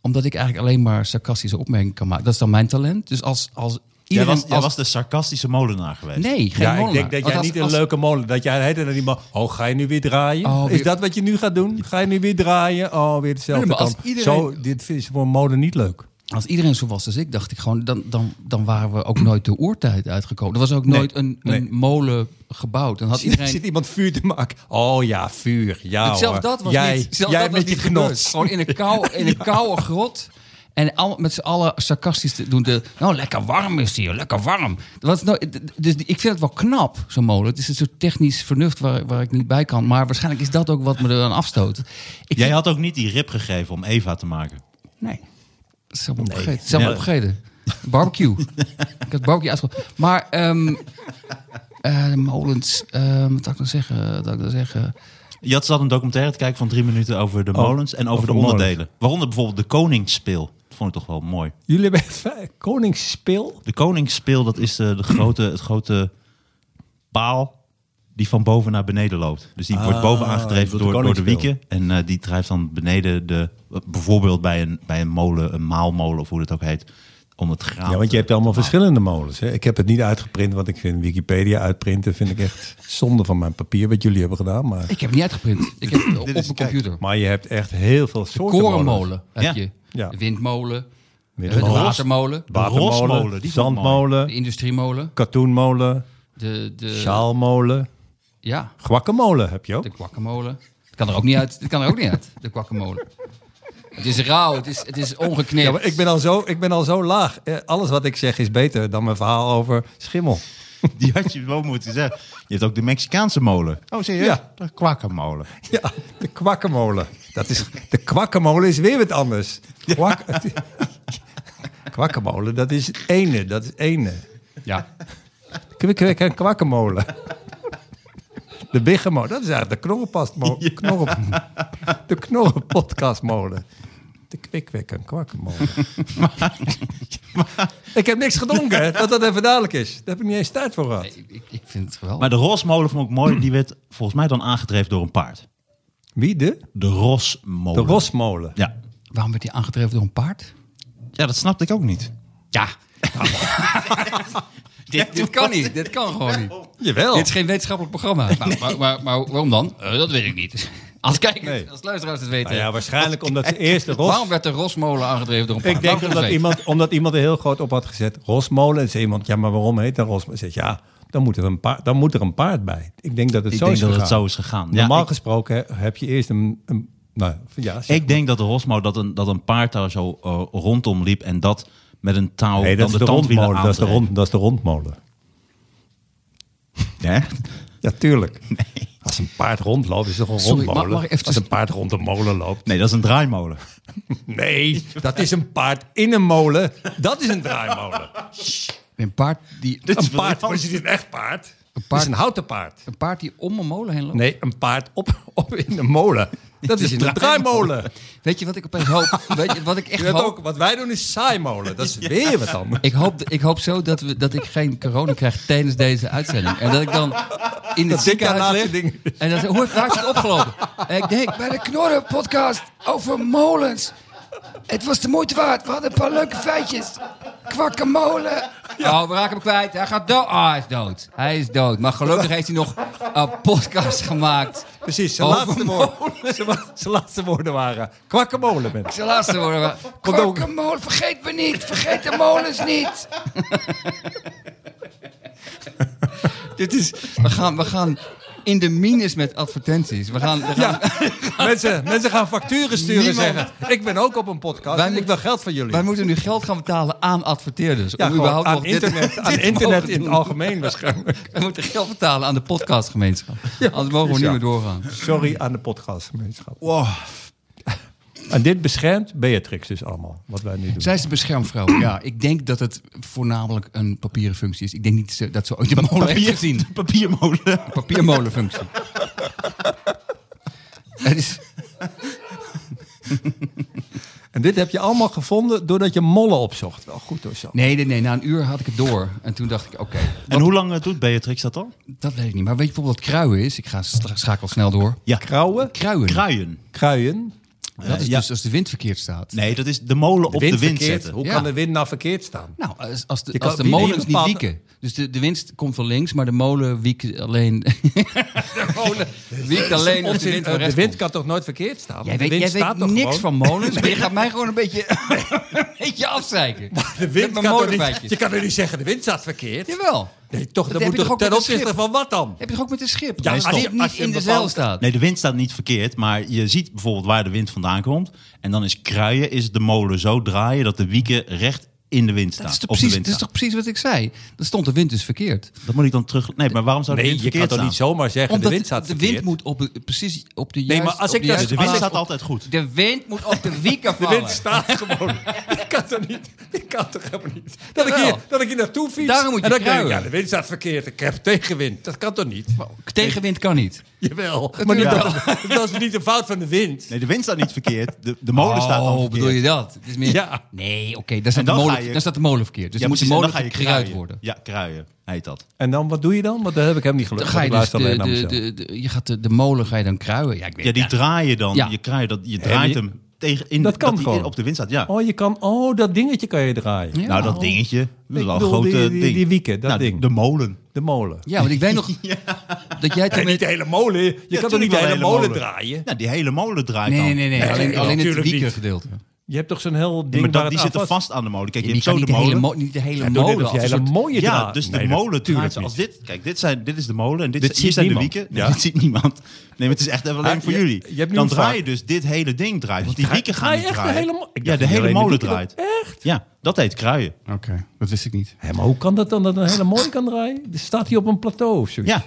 Speaker 4: Omdat ik eigenlijk alleen maar sarcastische opmerkingen kan maken. Dat is dan mijn talent. Dus als... als
Speaker 2: Jij was,
Speaker 4: iedereen-
Speaker 2: jij
Speaker 4: als-
Speaker 2: was de sarcastische molenaar geweest.
Speaker 4: Nee, geen
Speaker 3: ja, ik
Speaker 4: molenaar.
Speaker 3: denk dat
Speaker 4: Want
Speaker 3: jij
Speaker 4: als-
Speaker 3: niet een
Speaker 4: als-
Speaker 3: leuke molen... Dat jij heet en dan iemand... Oh, ga je nu weer draaien?
Speaker 4: Oh, weer-
Speaker 3: Is dat wat je nu gaat doen? Ga je nu weer draaien? Oh, weer hetzelfde
Speaker 4: Nee, maar als
Speaker 3: kamp.
Speaker 4: iedereen-
Speaker 3: Zo, dit is voor molen niet leuk.
Speaker 4: Als iedereen zo was als ik, dacht ik gewoon... Dan, dan, dan waren we ook nooit de oertijd uitgekomen. Er was ook
Speaker 3: Nee,
Speaker 4: nooit een, een
Speaker 3: nee.
Speaker 4: molen gebouwd. Dan had
Speaker 3: Iedereen...
Speaker 4: iedereen...
Speaker 3: Zit iemand vuur te maken? Oh ja, vuur. Ja
Speaker 4: Het- zelfs
Speaker 3: hoor.
Speaker 4: dat was
Speaker 3: Oh, eh, jij,
Speaker 4: niet, zelfs
Speaker 3: jij
Speaker 4: dat was
Speaker 3: met je
Speaker 4: niet gebeurd.
Speaker 3: knots.
Speaker 4: Gewoon in een, kou, in een koude grot. En al, met z'n allen sarcastisch te doen. De, nou, lekker warm is het hier, lekker warm. Dat was nooit- d- dus ik vind het wel knap, zo'n molen. Het is een soort technisch vernuft waar, waar ik niet bij kan. Maar waarschijnlijk is dat ook wat me eraan afstoot. Ik
Speaker 2: Jij
Speaker 4: vind-
Speaker 2: had ook niet die rib gegeven om Eva te maken.
Speaker 4: Nee. Dat is helemaal opgegeten. Het is helemaal
Speaker 2: Ja.
Speaker 4: opgegeten. Barbecue. ik had barbecue uitgeprobeerd. Maar ehm, eh, de molens, ehm, wat zou ik dan zeggen? Wat zou ik dan zeggen?
Speaker 2: Je had zat een documentaire te kijken van drie minuten over de
Speaker 3: Oh,
Speaker 2: molens en over,
Speaker 3: over
Speaker 2: de
Speaker 3: de molens.
Speaker 2: onderdelen. Waaronder bijvoorbeeld de koningsspil. Dat vond ik toch wel mooi.
Speaker 3: Jullie hebben vijf- koningsspil?
Speaker 2: De koningsspil, dat is eh, de, de grote, het grote paal die van boven naar beneden loopt. Dus die wordt
Speaker 3: Ah,
Speaker 2: boven
Speaker 3: dat
Speaker 2: aangedreven
Speaker 3: is de
Speaker 2: door, door de
Speaker 3: koningsspil.
Speaker 2: wieken. En eh, die drijft dan beneden, de, bijvoorbeeld bij een, bij een molen, een maalmolen of hoe dat ook heet, om het graan.
Speaker 3: Ja, want
Speaker 2: te-
Speaker 3: je hebt allemaal
Speaker 4: Nou.
Speaker 2: te-
Speaker 3: verschillende molens. Hè? Ik heb het niet uitgeprint, want ik vind Wikipedia uitprinten... vind ik echt zonde van mijn papier, wat jullie hebben gedaan. Maar,
Speaker 4: Ik heb het niet uitgeprint. Ik heb het op mijn computer.
Speaker 3: maar je hebt echt heel veel soorten molens.
Speaker 4: korenmolen heb
Speaker 2: Ja.
Speaker 4: je.
Speaker 3: Ja.
Speaker 4: De windmolen. eh,
Speaker 3: Windmolen.
Speaker 4: De watermolen.
Speaker 2: De rosmolen,
Speaker 3: Watermolen,
Speaker 2: die vond ik mooi.
Speaker 4: De
Speaker 3: zandmolen,
Speaker 4: industriemolen.
Speaker 3: katoenmolen,
Speaker 4: De, de,
Speaker 3: sjaalmolen,
Speaker 4: Ja,
Speaker 3: guacamole heb je ook.
Speaker 4: de kwakkenmolen. Het kan er ook niet uit. Het kan er ook niet uit, de kwakkenmolen. Het is rauw, het is, het is ongeknipt.
Speaker 3: Ja, maar ik ben al zo, ik ben al zo laag. Eh, Alles wat ik zeg is beter dan mijn verhaal over schimmel.
Speaker 2: Die had je wel moeten zeggen. Je hebt ook de Mexicaanse molen. Oh, zie je?
Speaker 3: Ja.
Speaker 2: De kwakkermolen.
Speaker 3: Ja, de kwakkemolen. Dat is, de kwakkemolen is weer wat anders. Kwak, kwakkemolen, dat is ene, dat is ene.
Speaker 4: Ja.
Speaker 3: Kwik, kwik en kwakkemolen. De Biggenmolen. Dat is eigenlijk de knorrenpastmo- knorren, de knorrenpodcastmolen. De kwikwek en kwakkenmolen. ik heb niks gedronken, hè, dat dat even duidelijk is. Daar heb ik niet eens tijd voor gehad.
Speaker 4: Ik, ik- ik vind het geweldig.
Speaker 2: Maar de Rosmolen vond ik mooi. Die werd volgens mij dan aangedreven door een paard.
Speaker 3: Wie de?
Speaker 2: De
Speaker 3: De
Speaker 2: Rosmolen.
Speaker 3: Rosmolen.
Speaker 2: Ja.
Speaker 4: Waarom werd die aangedreven door een paard?
Speaker 2: ja, dat snapte ik ook niet.
Speaker 4: Ja. dit, dit kan niet. Dit kan gewoon niet.
Speaker 3: Jawel.
Speaker 4: Dit is geen wetenschappelijk programma. Maar, maar, maar, maar waarom dan? Eh, dat weet ik niet. Als kijkers,
Speaker 3: Nee.
Speaker 4: als luisteraars het weten.
Speaker 3: Nou ja, waarschijnlijk omdat ze eerst de Ros...
Speaker 4: Waarom werd de Rosmolen aangedreven door een paard?
Speaker 3: Ik denk
Speaker 4: Waarom
Speaker 3: omdat
Speaker 4: is
Speaker 3: iemand, omdat iemand er heel groot op had gezet. Rosmolen. En zei iemand, ja, maar waarom heet dat Rosmolen? Zegt ja, dan moet, er een paard, dan moet er een paard bij. Ik denk dat het
Speaker 2: Ik
Speaker 3: zo
Speaker 2: denk
Speaker 3: is
Speaker 2: dat het
Speaker 3: gegaan.
Speaker 2: zo is gegaan. Ja,
Speaker 3: Normaal
Speaker 2: ik-
Speaker 3: gesproken hè, heb je eerst een... een nou, ja, zeg
Speaker 2: Ik denk dat de Rosmo dat een, dat een paard daar zo eh, rondom liep en dat met een touw
Speaker 3: Nee,
Speaker 2: dan
Speaker 3: dat is
Speaker 2: de,
Speaker 3: de,
Speaker 2: tandwielen
Speaker 3: rondmolen. Dat is de,
Speaker 2: aandreef.
Speaker 3: rond, dat is de rondmolen.
Speaker 2: Ja?
Speaker 3: Ja, tuurlijk. Als een paard rondloopt, is het toch een
Speaker 4: Sorry,
Speaker 3: rondmolen?
Speaker 4: mag- mag ik even-
Speaker 3: Als een paard rond een molen loopt.
Speaker 2: Nee, dat is een draaimolen.
Speaker 3: Nee, dat is een paard in een molen. Dat is een draaimolen.
Speaker 4: Een paard die,
Speaker 2: Dit is
Speaker 3: Een paard,
Speaker 2: briljant.
Speaker 3: maar is het een echt paard? Een
Speaker 4: paard-
Speaker 3: is een houten paard.
Speaker 4: een paard die om een molen heen loopt.
Speaker 3: Nee, een paard op, op in een molen. Dat is in een draaimolen.
Speaker 4: Weet je wat ik opeens hoop? Weet je wat ik echt
Speaker 3: Je weet
Speaker 4: hoop?
Speaker 3: ook, wat wij doen is saaimolen. Dat is weer wat anders.
Speaker 4: Ik hoop, ik hoop zo dat, we, dat ik geen corona krijg tijdens deze uitzending. En dat ik dan in het
Speaker 3: Dat dit jouw
Speaker 4: ziekenhuis
Speaker 3: laatste
Speaker 4: lig.
Speaker 3: ding
Speaker 4: En dan zeg hoe heeft waar is het opgelopen? Eh, En ik denk, bij de Knorren podcast over molens. Het was de moeite waard. We hadden een paar leuke feitjes. Kwakkemolen. Oh, we raken hem kwijt. Hij gaat dood. Ah, hij is dood. Hij is dood. Maar gelukkig heeft hij nog een podcast gemaakt.
Speaker 3: Precies, zijn
Speaker 4: Over
Speaker 3: laatste, woorden, zijn, wa- zijn laatste woorden waren kwakkemolen. Mensen.
Speaker 4: Zijn laatste woorden waren...
Speaker 3: Condoom.
Speaker 4: Kwakkemolen, vergeet me niet. Vergeet de molens niet. Dit is... We gaan, we gaan in de minus met advertenties. We gaan... we gaan-
Speaker 3: Ja, mensen, mensen gaan facturen sturen
Speaker 4: Niemand-
Speaker 3: zeggen. Ik ben ook op een podcast
Speaker 4: Wij
Speaker 3: en ik
Speaker 4: moeten-
Speaker 3: wil geld van jullie.
Speaker 4: Wij moeten nu geld gaan betalen aan adverteerders.
Speaker 3: ja,
Speaker 4: om
Speaker 3: gewoon
Speaker 4: überhaupt
Speaker 3: aan
Speaker 4: nog dit-
Speaker 3: internet,
Speaker 4: dit
Speaker 3: aan
Speaker 4: te
Speaker 3: internet
Speaker 4: mogen
Speaker 3: in het
Speaker 4: doen.
Speaker 3: algemeen waarschijnlijk.
Speaker 4: We moeten geld betalen aan de podcastgemeenschap. Anders mogen we niet
Speaker 3: ja.
Speaker 4: meer doorgaan.
Speaker 3: Sorry aan de podcastgemeenschap.
Speaker 4: Oh.
Speaker 3: En dit beschermt Beatrix dus allemaal, wat wij nu doen.
Speaker 4: Zij is de beschermvrouw. Ja, ik denk dat het voornamelijk een papieren functie is. Ik denk niet dat ze- dat ze ooit de molen heeft gezien.
Speaker 2: Papiermolen.
Speaker 4: Papiermolenfunctie. Het is...
Speaker 3: En dit heb je allemaal gevonden doordat je mollen opzocht. Wel goed hoor, Sam.
Speaker 4: Nee, nee, nee. Na een uur had ik het door. En toen dacht ik, oké,
Speaker 2: En hoe lang eh, doet Beatrix dat al?
Speaker 4: dat weet ik niet. Maar weet je bijvoorbeeld wat kruien is? Ik ga stra- schakel snel door.
Speaker 2: Ja,
Speaker 3: Krauwen,
Speaker 4: Kruien.
Speaker 2: kruien.
Speaker 3: kruien, Eh,
Speaker 4: Dat is
Speaker 2: Ja.
Speaker 4: dus als de wind verkeerd staat.
Speaker 2: Nee, dat is de molen op de wind
Speaker 3: verkeerd.
Speaker 2: zetten.
Speaker 3: Hoe
Speaker 4: Ja.
Speaker 3: kan de wind nou verkeerd staan?
Speaker 4: Nou, als, als de,
Speaker 3: kan-
Speaker 4: als de
Speaker 3: wie- wie
Speaker 4: molens niet
Speaker 3: bepaalt-
Speaker 4: wieken. Dus de, de winst komt van links, maar de molen wiekt alleen... de
Speaker 3: eh,
Speaker 4: molen wiekt alleen als de
Speaker 3: Onzin,
Speaker 4: wind
Speaker 3: eh, de
Speaker 4: van rechts
Speaker 3: wind
Speaker 4: komt.
Speaker 3: kan toch nooit verkeerd staan?
Speaker 4: Jij
Speaker 3: De
Speaker 4: weet,
Speaker 3: wind
Speaker 4: jij weet
Speaker 3: staat toch
Speaker 4: niks
Speaker 3: gewoon?
Speaker 4: van molens, maar je gaat mij gewoon een beetje, een beetje afzeiken.
Speaker 3: De
Speaker 4: Met
Speaker 3: wind kan
Speaker 4: mijn
Speaker 3: toch niet,
Speaker 4: molenfeitjes.
Speaker 3: je kan er niet zeggen, de wind staat verkeerd.
Speaker 4: Jawel.
Speaker 3: Nee, toch,
Speaker 4: Dat
Speaker 3: dan
Speaker 4: heb
Speaker 3: moet
Speaker 4: je
Speaker 3: toch
Speaker 4: toch ook
Speaker 3: ten
Speaker 4: met een
Speaker 3: opzichte
Speaker 4: schip?
Speaker 3: van wat dan?
Speaker 4: Heb je toch ook met een schip?
Speaker 3: Ja,
Speaker 4: als
Speaker 3: stop.
Speaker 4: dit niet
Speaker 3: Als je
Speaker 4: in de
Speaker 3: bepaalt-
Speaker 4: zeil staat.
Speaker 2: Nee, de wind staat niet verkeerd, maar je ziet bijvoorbeeld waar de wind vandaan komt. En dan is kruien, is de molen zo draaien dat de wieken recht in de wind staan.
Speaker 4: Dat is, toch
Speaker 2: op de
Speaker 4: precies,
Speaker 2: wind
Speaker 4: dat is
Speaker 2: staan.
Speaker 4: toch precies wat ik zei? Dan stond de wind dus verkeerd.
Speaker 2: Dat moet ik dan terug... Nee, maar waarom zou de
Speaker 3: Nee,
Speaker 2: wind
Speaker 3: je kan
Speaker 2: verkeerd
Speaker 3: toch
Speaker 2: staan?
Speaker 3: niet zomaar zeggen,
Speaker 4: Omdat
Speaker 3: de wind staat verkeerd.
Speaker 4: moet op, de- precies op de
Speaker 3: maar
Speaker 4: juiste...
Speaker 3: als
Speaker 4: op
Speaker 3: ik
Speaker 4: de
Speaker 3: dat-
Speaker 4: juiste
Speaker 2: De wind
Speaker 3: Als-
Speaker 2: staat altijd goed.
Speaker 4: De wind moet op de wieken
Speaker 3: De
Speaker 4: vallen.
Speaker 3: wind staat gewoon. Ik kan toch niet. Ik kan toch helemaal niet. Dat ik
Speaker 4: Jawel.
Speaker 3: hier, dat ik hier naartoe fiets.
Speaker 4: Daarom moet je
Speaker 3: en dan denk ik,
Speaker 4: kruien.
Speaker 3: ja, de wind staat verkeerd. Ik heb tegenwind. Dat kan toch niet?
Speaker 4: Tegenwind kan niet.
Speaker 3: Jawel. Maar niet
Speaker 4: Ja.
Speaker 3: dat, dat is niet de fout van de wind.
Speaker 2: Nee, de wind staat niet verkeerd. De, de molen staat dan
Speaker 4: oh,
Speaker 2: verkeerd.
Speaker 4: bedoel je dat? Het is meer...
Speaker 3: Ja.
Speaker 4: Nee, oké, daar, staat
Speaker 2: En
Speaker 4: de
Speaker 2: dan ga
Speaker 4: molen-
Speaker 2: je-
Speaker 4: daar staat de molen verkeerd. Dus
Speaker 2: Ja,
Speaker 4: dan moet de
Speaker 2: precies, en dan
Speaker 4: molen
Speaker 2: ga je
Speaker 4: gekruid
Speaker 2: kruien.
Speaker 4: worden.
Speaker 2: Ja, kruien heet dat.
Speaker 3: En dan, wat doe je dan? Want dat heb ik hem niet
Speaker 4: Dan
Speaker 3: gelukkig.
Speaker 4: ga je
Speaker 3: Ik
Speaker 4: dus
Speaker 3: luister
Speaker 4: de,
Speaker 3: alleen naar
Speaker 4: de,
Speaker 3: mezelf.
Speaker 4: de, de- je gaat de, de molen ga je dan kruien. Ja, ik weet
Speaker 2: Ja, die draai je dan.
Speaker 4: Ja.
Speaker 2: Je, kruien, dat, je
Speaker 3: maar
Speaker 2: draait
Speaker 3: je-
Speaker 2: hem tegen in
Speaker 3: Dat kan
Speaker 2: die
Speaker 3: gewoon.
Speaker 2: in- op de wind staat. Ja.
Speaker 3: Oh, je kan, oh, dat dingetje kan je draaien.
Speaker 4: Ja.
Speaker 2: Nou, dat dingetje. Dat is
Speaker 3: Ik
Speaker 2: wel een
Speaker 3: bedoel,
Speaker 2: grote
Speaker 3: die- die-
Speaker 2: ding.
Speaker 3: die wieken, dat
Speaker 2: Nou,
Speaker 3: ding.
Speaker 2: De molen.
Speaker 3: De molen.
Speaker 4: Ja, want ik weet nog dat jij toen
Speaker 3: Nee, niet
Speaker 4: met...
Speaker 3: de hele molen. Je kan toch niet de hele molen, draaien?
Speaker 2: Nou, die hele molen draait
Speaker 4: Nee,
Speaker 2: dan.
Speaker 4: nee, nee,
Speaker 3: Nee,
Speaker 4: alleen, alleen het
Speaker 3: natuurlijk niet.
Speaker 4: wieken gedeelte.
Speaker 3: Je hebt toch zo'n heel ding
Speaker 2: Ja, maar
Speaker 3: waar
Speaker 2: dat, die
Speaker 3: het aan
Speaker 2: zitten
Speaker 3: vast...
Speaker 2: vast aan de molen. Kijk, je
Speaker 4: ah, Ja, die
Speaker 2: hebt
Speaker 4: kan
Speaker 2: zo de
Speaker 4: niet de hele
Speaker 2: molen.
Speaker 4: mo- niet de hele
Speaker 3: En doe
Speaker 4: molen.
Speaker 3: net of
Speaker 4: als
Speaker 3: je
Speaker 4: een
Speaker 3: hele
Speaker 4: soort-
Speaker 3: mooie
Speaker 2: Ja,
Speaker 3: draait.
Speaker 2: dus de
Speaker 3: Nee,
Speaker 2: molen
Speaker 3: natuurlijk
Speaker 2: draait als
Speaker 3: niet.
Speaker 2: dit. Kijk, dit, zijn, dit is de molen en dit,
Speaker 3: Dit
Speaker 2: zijn-
Speaker 3: ziet
Speaker 2: hier zijn
Speaker 3: niemand.
Speaker 2: de wieken.
Speaker 3: Ja.
Speaker 2: Ja. Dit ziet niemand. Nee, maar het is echt even alleen
Speaker 3: Ah,
Speaker 2: voor
Speaker 3: je-
Speaker 2: jullie.
Speaker 3: je hebt nu
Speaker 2: dan
Speaker 3: een
Speaker 2: draai je
Speaker 3: vraag.
Speaker 2: dus dit hele ding draait. Want die
Speaker 3: Draai-
Speaker 2: wieken
Speaker 3: draai
Speaker 2: gaan niet
Speaker 3: echt de
Speaker 2: draaien.
Speaker 3: hele mo-
Speaker 2: ja,
Speaker 3: Ik dacht
Speaker 2: de
Speaker 3: alleen
Speaker 2: hele
Speaker 3: de
Speaker 2: molen
Speaker 3: wieken.
Speaker 2: draait. Echt? Ja, dat heet kruien.
Speaker 4: Oké, dat wist ik niet.
Speaker 3: Hé, maar hoe kan dat dan dat een hele molen kan draaien? Er staat hij op een plateau of zoiets.
Speaker 2: Ja.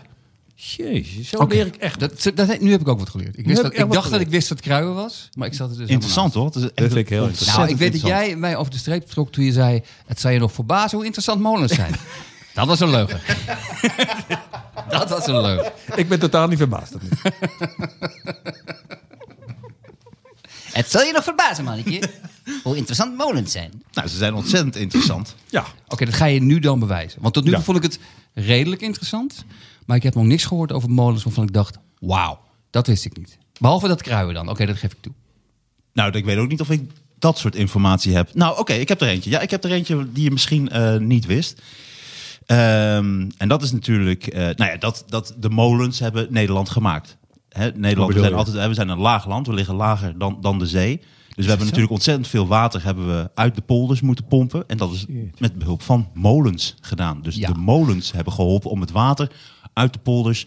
Speaker 3: Jezus, zo
Speaker 4: Oké.
Speaker 3: leer ik echt.
Speaker 4: Dat, dat, nu heb ik ook wat geleerd. Ik,
Speaker 3: heb
Speaker 4: wist
Speaker 3: ik
Speaker 4: dat, ik,
Speaker 3: echt wat
Speaker 4: dacht dat
Speaker 3: geleerd.
Speaker 4: ik wist dat kruien was, maar ik zat er dus helemaal
Speaker 2: Interessant
Speaker 4: naast.
Speaker 2: hoor. Dat, is echt
Speaker 3: vind ik heel
Speaker 2: ontzettend
Speaker 3: interessant.
Speaker 4: Nou, ik weet dat
Speaker 2: interessant.
Speaker 4: jij mij over de streep trok toen je zei... het zou je nog verbazen hoe interessant molens zijn. dat was een leugen. Dat was een leuk.
Speaker 3: Ik ben totaal niet verbaasd. dat niet.
Speaker 5: Het zal je nog verbazen, mannetje. Hoe interessant molens zijn.
Speaker 2: Nou, ze zijn ontzettend interessant.
Speaker 3: Ja,
Speaker 4: Oké, dat ga je nu dan bewijzen. Want tot nu toe
Speaker 3: Ja.
Speaker 4: vond ik het redelijk interessant. Maar ik heb nog niks gehoord over molens waarvan ik dacht... wauw, dat wist ik niet. Behalve dat kruiden dan. Oké, dat geef ik toe.
Speaker 2: Nou, ik weet ook niet of ik dat soort informatie heb. Nou, oké, ik heb er eentje. Ja, ik heb er eentje die je misschien eh, niet wist. Ehm, en dat is natuurlijk, eh, nou ja, dat, dat de molens hebben Nederland gemaakt. Hè, Nederland, we
Speaker 3: bedoel
Speaker 2: zijn,
Speaker 3: je?
Speaker 2: altijd, we zijn een laag land, we liggen lager dan, dan de zee. Dus we hebben natuurlijk ontzettend veel water hebben we uit de polders moeten pompen. En dat is met behulp van molens gedaan. Dus
Speaker 4: Ja.
Speaker 2: de molens hebben geholpen om het water uit de polders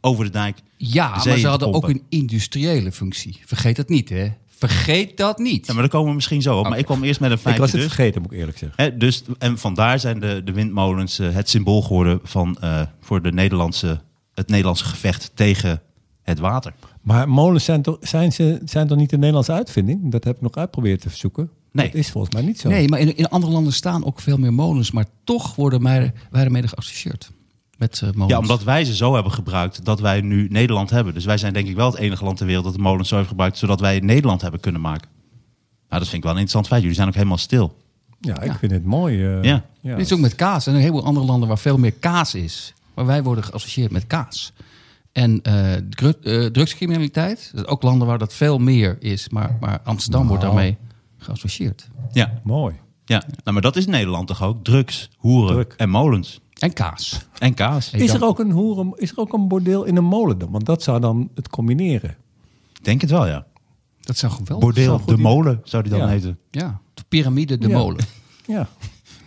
Speaker 2: over de dijk
Speaker 4: Ja,
Speaker 2: de zee
Speaker 4: maar
Speaker 2: in
Speaker 4: ze
Speaker 2: te
Speaker 4: hadden ook
Speaker 2: pompen.
Speaker 4: een industriële functie. Vergeet dat niet, hè. Vergeet dat niet.
Speaker 2: Ja, maar daar komen we misschien zo op. Maar ik kwam eerst met een
Speaker 3: ik
Speaker 2: feitje
Speaker 3: was het
Speaker 2: dus.
Speaker 3: vergeten, moet ik eerlijk zeggen.
Speaker 2: Hè, dus, en vandaar zijn de, de windmolens eh, het symbool geworden van, eh, voor de Nederlandse, het Nederlandse gevecht tegen het water.
Speaker 3: Maar molens zijn toch, zijn, ze, zijn toch niet een Nederlandse uitvinding? Dat heb ik nog uitproberen te zoeken.
Speaker 2: Nee.
Speaker 3: Dat is volgens mij niet zo.
Speaker 4: Nee, maar in, in andere landen staan ook veel meer molens. Maar toch worden mij, wij ermee geassocieerd. Met eh, molens.
Speaker 2: Ja, omdat wij ze zo hebben gebruikt dat wij nu Nederland hebben. Dus wij zijn denk ik wel het enige land ter wereld dat de molens zo heeft gebruikt, zodat wij Nederland hebben kunnen maken. Nou, dat vind ik wel een interessant feit. Jullie zijn ook helemaal stil.
Speaker 3: Ja, ik
Speaker 4: Ja.
Speaker 3: vind het mooi. eh,
Speaker 2: Ja.
Speaker 4: Dit is ook met kaas. En een heleboel andere landen waar veel meer kaas is. Maar wij worden geassocieerd met kaas. En eh, dru- eh, drugscriminaliteit. Dat ook landen waar dat veel meer is. Maar, maar Amsterdam wordt
Speaker 2: Nou.
Speaker 4: daarmee geassocieerd.
Speaker 2: Ja,
Speaker 3: Mooi.
Speaker 2: ja. Nou, maar dat is Nederland toch ook? Drugs, hoeren
Speaker 3: Druk.
Speaker 2: en molens.
Speaker 4: En kaas.
Speaker 2: En kaas.
Speaker 4: Hey,
Speaker 3: Is
Speaker 4: dan-
Speaker 3: er, ook een hoeren, is er ook een bordeel in een molen dan? Want dat zou dan het combineren.
Speaker 2: Ik Denk het wel, ja.
Speaker 4: Dat zou geweldig zijn.
Speaker 2: Bordeel, de molen zou die dan
Speaker 3: Ja.
Speaker 2: heten.
Speaker 4: Ja, de piramide de
Speaker 3: Ja.
Speaker 4: molen.
Speaker 3: Ja.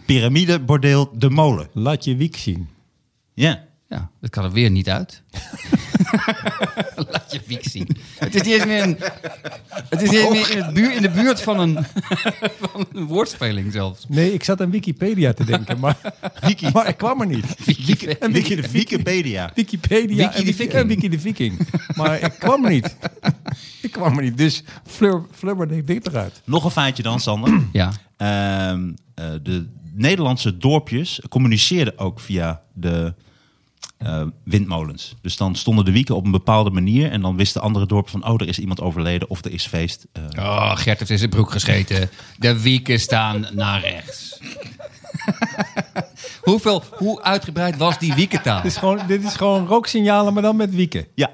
Speaker 2: Piramide, bordeel, de molen.
Speaker 3: Laat je wiek zien.
Speaker 2: Ja.
Speaker 4: Ja, dat kan er weer niet uit. Laat je wiek zien. Het is niet eens meer, een, het is niet eens meer in, het buur- in de buurt van een, van een woordspeling zelfs.
Speaker 3: Nee, ik zat aan Wikipedia te denken, maar,
Speaker 2: Wiki.
Speaker 3: maar ik kwam er niet.
Speaker 2: En Wiki de Wikipedia.
Speaker 3: Wikipedia
Speaker 4: Wiki
Speaker 3: en,
Speaker 4: de
Speaker 3: Wiki,
Speaker 4: Viking.
Speaker 3: en Wiki de Viking. Maar ik kwam er niet. Ik kwam er niet, dus flur, flubberde ik eruit.
Speaker 2: Nog een feitje dan, Sander.
Speaker 4: Ja.
Speaker 2: Ehm, eh, de Nederlandse dorpjes communiceerden ook via de eh, windmolens. Dus dan stonden de wieken op een bepaalde manier. En dan wisten andere dorpen van, oh, er is iemand overleden of er is feest. Eh,
Speaker 4: Oh, Gert heeft in zijn broek gescheten. De wieken staan naar rechts. Hoeveel, hoe uitgebreid was die wiekentaal?
Speaker 3: Dit is gewoon, dit is gewoon rooksignalen, maar dan met wieken.
Speaker 2: ja.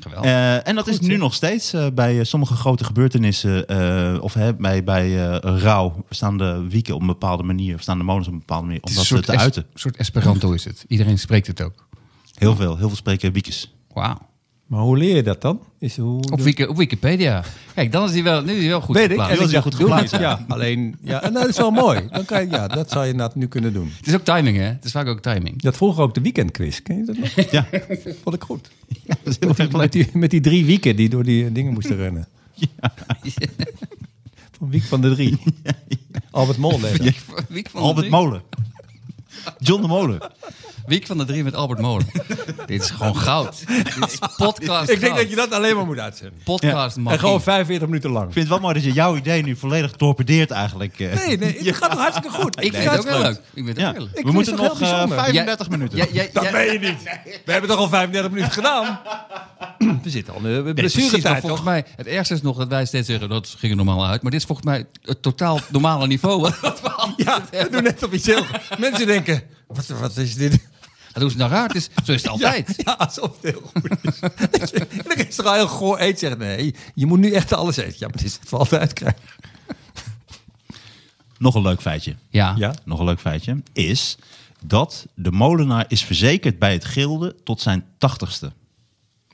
Speaker 4: Geweldig.
Speaker 2: Eh, en dat is nu nog steeds eh, bij eh, sommige grote gebeurtenissen. eh, of hè, bij, bij eh, rouw staan de wieken op een bepaalde manier. Of staan de molens op een bepaalde manier. Om dat eh, te
Speaker 4: es-
Speaker 2: uiten.
Speaker 4: soort Esperanto is het. Iedereen spreekt het ook.
Speaker 2: Heel veel. Heel veel spreken wiekes.
Speaker 4: Wauw.
Speaker 3: Maar hoe leer je dat dan? Is hoe
Speaker 4: Op, wiki- op Wikipedia. Kijk, dan is die wel, nu is die wel goed
Speaker 3: Weet ik.
Speaker 4: geplaatst.
Speaker 3: En
Speaker 2: Die was
Speaker 3: ik
Speaker 2: heel
Speaker 3: dacht,
Speaker 2: goed
Speaker 3: doe
Speaker 2: geplaatst,
Speaker 3: het. Ja, alleen, ja, en dat is wel mooi. Dan kan je, ja, dat zou je inderdaad nu kunnen doen.
Speaker 4: Het is ook timing, hè? Het is vaak ook timing.
Speaker 3: Dat vroeger ook de weekendquiz. Ken je dat nog?
Speaker 2: Ja,
Speaker 3: Vond ik goed.
Speaker 2: dat is heel erg leuk.
Speaker 3: Met die, met die drie wieken die door die eh, dingen moesten rennen. Van wiek van de drie. Albert Mol deed dat.
Speaker 4: Wiek van de
Speaker 2: Albert
Speaker 4: Drie.
Speaker 2: Molen. John de Molen.
Speaker 4: Wiek van de Drie met Albert Molen. Dit is gewoon goud. Dit is podcast
Speaker 3: Ik denk
Speaker 4: goud.
Speaker 3: dat je dat alleen maar moet uitzenden.
Speaker 4: Podcast
Speaker 3: En
Speaker 4: magie.
Speaker 3: gewoon 45 minuten lang.
Speaker 2: Ik vind het wel mooi dat je jouw idee nu volledig torpedeert eigenlijk. eh.
Speaker 3: Nee, nee, het gaat toch hartstikke goed.
Speaker 4: Ik vind
Speaker 3: Ja,
Speaker 4: het ook heel leuk. Ik vind het
Speaker 2: Ja.
Speaker 4: ook heel leuk.
Speaker 3: Ik
Speaker 2: We
Speaker 3: vind
Speaker 2: moeten
Speaker 3: het toch
Speaker 2: nog
Speaker 3: heel
Speaker 2: eh,
Speaker 3: bijzonder.
Speaker 2: 35
Speaker 4: Jij-
Speaker 2: minuten.
Speaker 4: jij- jij-
Speaker 3: Dat
Speaker 4: jij-
Speaker 3: meen je niet. We hebben toch al 35 minuten gedaan? We zitten al in de
Speaker 4: Precies, maar
Speaker 3: blessuretijd
Speaker 4: volgens
Speaker 3: toch?
Speaker 4: mij, het ergste is nog dat wij steeds zeggen, dat ging er normaal uit. Maar dit is volgens mij het totaal normale niveau. Wat we altijd
Speaker 3: Ja, we
Speaker 4: hebben.
Speaker 3: doen net op iets heel... Mensen denken, wat, wat is dit?
Speaker 4: Dat is nou raar, het is, zo is het altijd.
Speaker 3: Ja, ja, alsof het heel goed is. En dan is er al heel goor eten. Zeggen, nee, je moet nu echt alles eten. Ja, maar dit is wat we altijd krijgen.
Speaker 2: Nog een leuk feitje.
Speaker 4: Ja.
Speaker 3: Ja.
Speaker 2: Nog een leuk feitje is dat de molenaar is verzekerd bij het gilde tot zijn 80ste.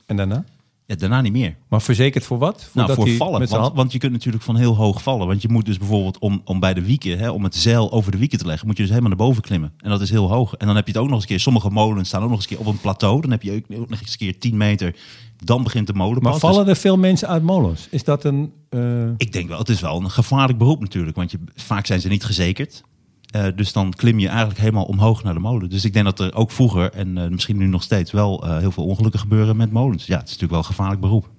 Speaker 3: En daarna?
Speaker 2: Ja, daarna niet meer.
Speaker 3: Maar verzekerd voor wat?
Speaker 2: nou,
Speaker 3: Voordat
Speaker 2: voor
Speaker 3: hij
Speaker 2: vallen.
Speaker 3: Met zijn
Speaker 2: Want,
Speaker 3: hand...
Speaker 2: want je kunt natuurlijk van heel hoog vallen. Want je moet dus bijvoorbeeld om, om bij de wieken, hè, om het zeil over de wieken te leggen, moet je dus helemaal naar boven klimmen. En dat is heel hoog. En dan heb je het ook nog eens een keer. Sommige molens staan ook nog eens een keer op een plateau. Dan heb je ook nog eens een keer 10 meter. Dan begint de molen.
Speaker 3: Maar
Speaker 2: pas.
Speaker 3: vallen er veel mensen uit molens? Is dat een... eh,
Speaker 2: Ik denk wel, het is wel een gevaarlijk beroep natuurlijk. Want je, vaak zijn ze niet verzekerd. Eh, dus dan klim je eigenlijk helemaal omhoog naar de molen. Dus ik denk dat er ook vroeger en eh, misschien nu nog steeds wel eh, heel veel ongelukken gebeuren met molens. Ja, het is natuurlijk wel een gevaarlijk beroep.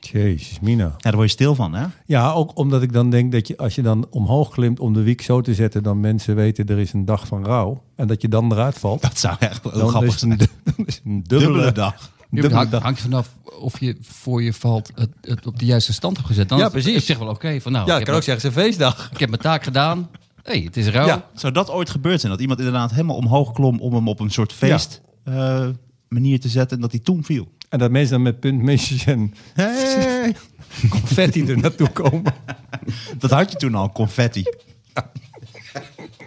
Speaker 3: Jezus, Mina.
Speaker 2: daar word je stil van, hè?
Speaker 3: Ja, ook omdat ik dan denk dat je als je dan omhoog klimt om de wiek zo te zetten, dan mensen weten er is een dag van rouw. En dat je dan eruit valt.
Speaker 2: Dat zou echt wel
Speaker 3: dan
Speaker 2: grappig
Speaker 3: is een,
Speaker 2: zijn.
Speaker 3: dan is een dubbele,
Speaker 2: Dubbele dag.
Speaker 3: een
Speaker 4: Het
Speaker 3: dubbele
Speaker 4: hangt,
Speaker 3: dag.
Speaker 4: hangt vanaf of je voor je valt het, het op de juiste stand hebt gezet. Dan
Speaker 3: Ja,
Speaker 4: is het
Speaker 3: precies.
Speaker 4: op zich wel oké. van nou,
Speaker 3: Ja,
Speaker 4: ik,
Speaker 3: ik
Speaker 4: heb
Speaker 3: kan ook
Speaker 4: mijn-
Speaker 3: zeggen, het is een feestdag.
Speaker 4: ik heb mijn taak gedaan. hey, het is rauw.
Speaker 3: Ja.
Speaker 2: Zou dat ooit gebeurd zijn? Dat iemand inderdaad helemaal omhoog klom om hem op een soort feest eh, manier te zetten en dat hij toen viel?
Speaker 3: En dat mensen dan met puntmesjes en confetti er naartoe komen.
Speaker 2: Dat had je toen al, confetti.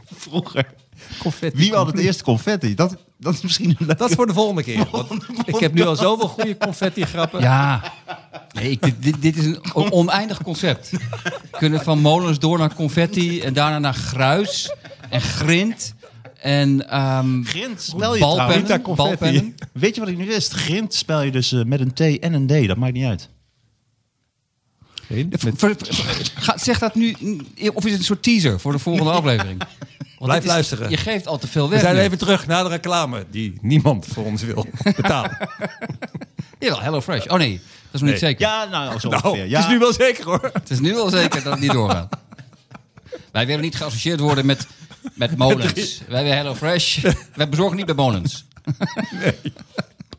Speaker 2: Vroeger.
Speaker 3: Confetti.
Speaker 2: Wie had het eerst confetti? Dat, dat is misschien een
Speaker 3: Dat is voor de volgende keer. want ik heb nu al zoveel goede confetti grappen.
Speaker 4: Ja. Nee, ik- dit, dit, dit is een o- oneindig concept. We kunnen van molens door naar confetti en daarna naar gruis en grind. En ehm,
Speaker 2: Grint spel je
Speaker 4: Balpennen,
Speaker 2: trouwens.
Speaker 4: Rita confetti. balpennen.
Speaker 2: Weet je wat ik nu wist? Grint spel je dus eh, met een T en een D. Dat maakt niet uit.
Speaker 3: Met-
Speaker 4: ver- ver- ga- zeg dat nu, of is het een soort teaser voor de volgende aflevering? Want dit is-
Speaker 3: luisteren.
Speaker 4: Je geeft al te veel
Speaker 3: We
Speaker 4: weg.
Speaker 3: zijn
Speaker 4: nu.
Speaker 3: even terug naar de reclame die niemand voor ons wil betalen.
Speaker 4: Jawel, Hello Fresh. Oh nee, dat is nog niet zeker.
Speaker 2: Ja, nou, zo
Speaker 3: Nou,
Speaker 2: ongeveer. Ja.
Speaker 3: het is nu wel zeker hoor.
Speaker 4: Het is nu al zeker dat het niet doorgaat. Wij willen niet geassocieerd worden met, met molens. Wij willen Hello Fresh. Wij bezorgen niet bij molens.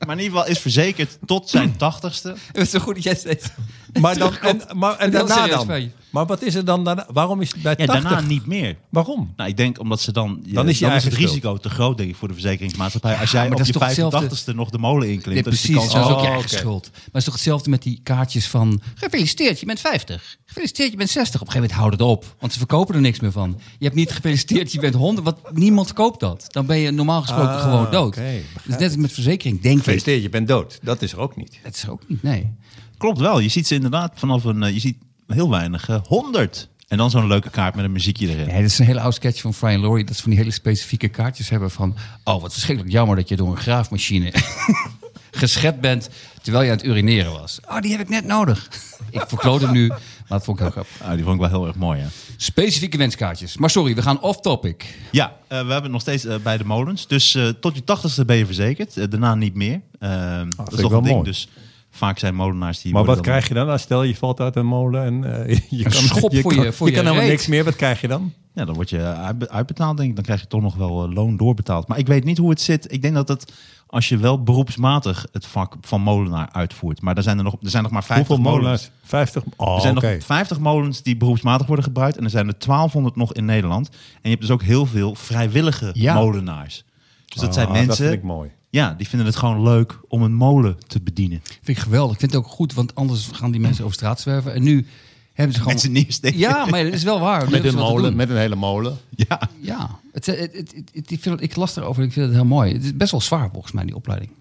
Speaker 2: Maar in ieder geval is verzekerd tot zijn tachtigste.
Speaker 4: Het is zo goed dat jij steeds...
Speaker 3: Maar, dan, en, maar, en
Speaker 4: Een heel
Speaker 3: daarna
Speaker 4: serieus
Speaker 3: dan?
Speaker 4: feitje.
Speaker 3: Maar wat is er dan daarna? Waarom is het bij
Speaker 2: Ja,
Speaker 3: 80?
Speaker 2: daarna niet meer.
Speaker 3: Waarom?
Speaker 2: Nou, ik denk omdat ze dan...
Speaker 3: Dan is je eigen
Speaker 2: het
Speaker 3: schuld.
Speaker 2: risico te groot, denk ik, voor de verzekeringsmaatschappij. Als jij
Speaker 4: maar
Speaker 2: op
Speaker 4: dat is
Speaker 2: je
Speaker 4: toch hetzelfde?
Speaker 2: 85ste nog de molen inklimt.
Speaker 4: Nee,
Speaker 2: dan is die
Speaker 4: precies, dat is
Speaker 2: kans- Oh,
Speaker 4: ook je eigen
Speaker 2: oké.
Speaker 4: schuld. Maar het is toch hetzelfde met die kaartjes van... Gefeliciteerd, je bent 50. Gefeliciteerd, je bent 60. Op een gegeven moment houdt het op. Want ze verkopen er niks meer van. Je hebt niet gefeliciteerd, je bent 100. Want niemand koopt dat. Dan ben je normaal gesproken
Speaker 3: Ah,
Speaker 4: gewoon dood.
Speaker 3: oké, begrijp
Speaker 4: Dus net als met verzekering, denk ik.
Speaker 3: Feesteer, je bent dood. Dat is er ook niet.
Speaker 4: Dat is ook niet, nee.
Speaker 2: Klopt wel. Je ziet ze inderdaad vanaf een... eh, Je ziet heel weinig. eh, 100. En dan zo'n leuke kaart met een muziekje erin.
Speaker 4: Nee, dat is een hele oude sketch van Brian Laurie. Dat ze van die hele specifieke kaartjes hebben van... Oh, wat verschrikkelijk jammer dat je door een graafmachine geschept bent... terwijl je aan het urineren was. Oh, die heb ik net nodig. ik verkloot hem nu, maar dat vond ik heel grappig.
Speaker 2: Ah, die vond ik wel heel erg mooi, hè?
Speaker 4: Specifieke wenskaartjes. Maar sorry, we gaan off-topic.
Speaker 2: Ja, eh, we hebben het nog steeds eh, bij de molens. Dus eh, tot je tachtigste ben je verzekerd. Eh, daarna niet meer. Ehm, dat
Speaker 3: Ah, ik
Speaker 2: is toch
Speaker 3: wel
Speaker 2: een ding.
Speaker 3: mooi.
Speaker 2: Dus vaak zijn molenaars die...
Speaker 3: Maar
Speaker 2: worden
Speaker 3: wat
Speaker 2: dan-
Speaker 3: krijg je dan? Nou, stel je valt uit een molen en eh, je kan,
Speaker 4: schop
Speaker 3: je
Speaker 4: voor
Speaker 3: kan,
Speaker 4: je- voor
Speaker 3: je
Speaker 4: je
Speaker 3: kan helemaal
Speaker 4: reet.
Speaker 3: niks meer. Wat krijg je dan?
Speaker 2: Ja, dan word je uitbe- uitbetaald, denk ik. Dan krijg je toch nog wel eh, loon doorbetaald. Maar ik weet niet hoe het zit. Ik denk dat het, als je wel beroepsmatig het vak van molenaar uitvoert... Maar er zijn er nog, er zijn nog maar 50
Speaker 3: Hoeveel
Speaker 2: molens.
Speaker 3: molens? 50. Oh,
Speaker 2: Er zijn
Speaker 3: oké.
Speaker 2: nog 50 molens die beroepsmatig worden gebruikt. En er zijn er 1200 nog in Nederland. En je hebt dus ook heel veel vrijwillige
Speaker 4: Ja.
Speaker 2: molenaars. Dus dat
Speaker 3: Ah,
Speaker 2: zijn
Speaker 3: Dat
Speaker 2: mensen...
Speaker 3: vind ik mooi.
Speaker 2: Ja, die vinden het gewoon leuk om een molen te bedienen.
Speaker 4: Vind ik geweldig. Ik vind het ook goed, want anders gaan die mensen over straat zwerven. En nu hebben ze gewoon...
Speaker 2: Mensen neersteken.
Speaker 4: Ja, maar dat is wel waar. Nu
Speaker 3: Met een,
Speaker 4: hebben ze wat te
Speaker 3: molen,
Speaker 4: doen.
Speaker 3: met een hele molen.
Speaker 2: Ja.
Speaker 4: Ja, het, het, het, het- het- ik, vind het- ik las erover en ik vind het heel mooi. Het is best wel zwaar volgens mij, die opleiding.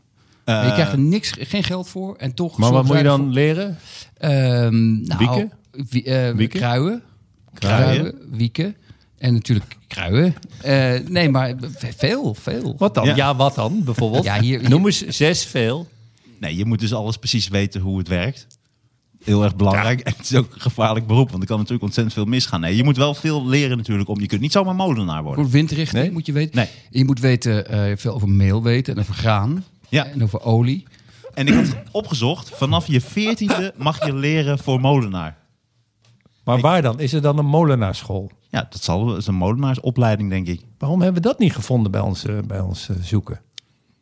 Speaker 2: Eh,
Speaker 4: je krijgt er niks, geen geld voor en toch...
Speaker 3: Maar wat moet
Speaker 4: zorgen
Speaker 3: je
Speaker 4: zij
Speaker 3: dan leren?
Speaker 4: ervoor- Ehm, nou,
Speaker 3: Wieken?
Speaker 4: wie- eh,
Speaker 3: Wieken?
Speaker 4: Kruien.
Speaker 2: Kruien.
Speaker 4: Wieken. En natuurlijk kruien. Eh, nee, maar veel, veel.
Speaker 3: Wat dan?
Speaker 2: Ja.
Speaker 3: Ja, wat dan? Bijvoorbeeld.
Speaker 4: Ja, hier- hier-
Speaker 3: Noem eens zes veel.
Speaker 2: Nee, je moet dus alles precies weten hoe het werkt. Heel erg belangrijk. En het is ook een gevaarlijk beroep, want er kan natuurlijk ontzettend veel misgaan. Nee, je moet wel veel leren natuurlijk. Om, je kunt niet zomaar molenaar worden.
Speaker 4: Goed, windrichting
Speaker 3: Nee?
Speaker 4: moet je weten.
Speaker 2: Nee.
Speaker 4: Je moet weten, eh, veel over meel weten en over graan.
Speaker 2: Ja.
Speaker 4: En over olie.
Speaker 2: En ik had opgezocht, vanaf je veertiende mag je leren voor molenaar.
Speaker 3: Maar waar dan? Is er dan een molenaarschool?
Speaker 2: Ja, dat zal dat is een molenaarsopleiding, denk ik.
Speaker 3: Waarom hebben we dat niet gevonden bij ons, eh, bij ons eh, zoeken?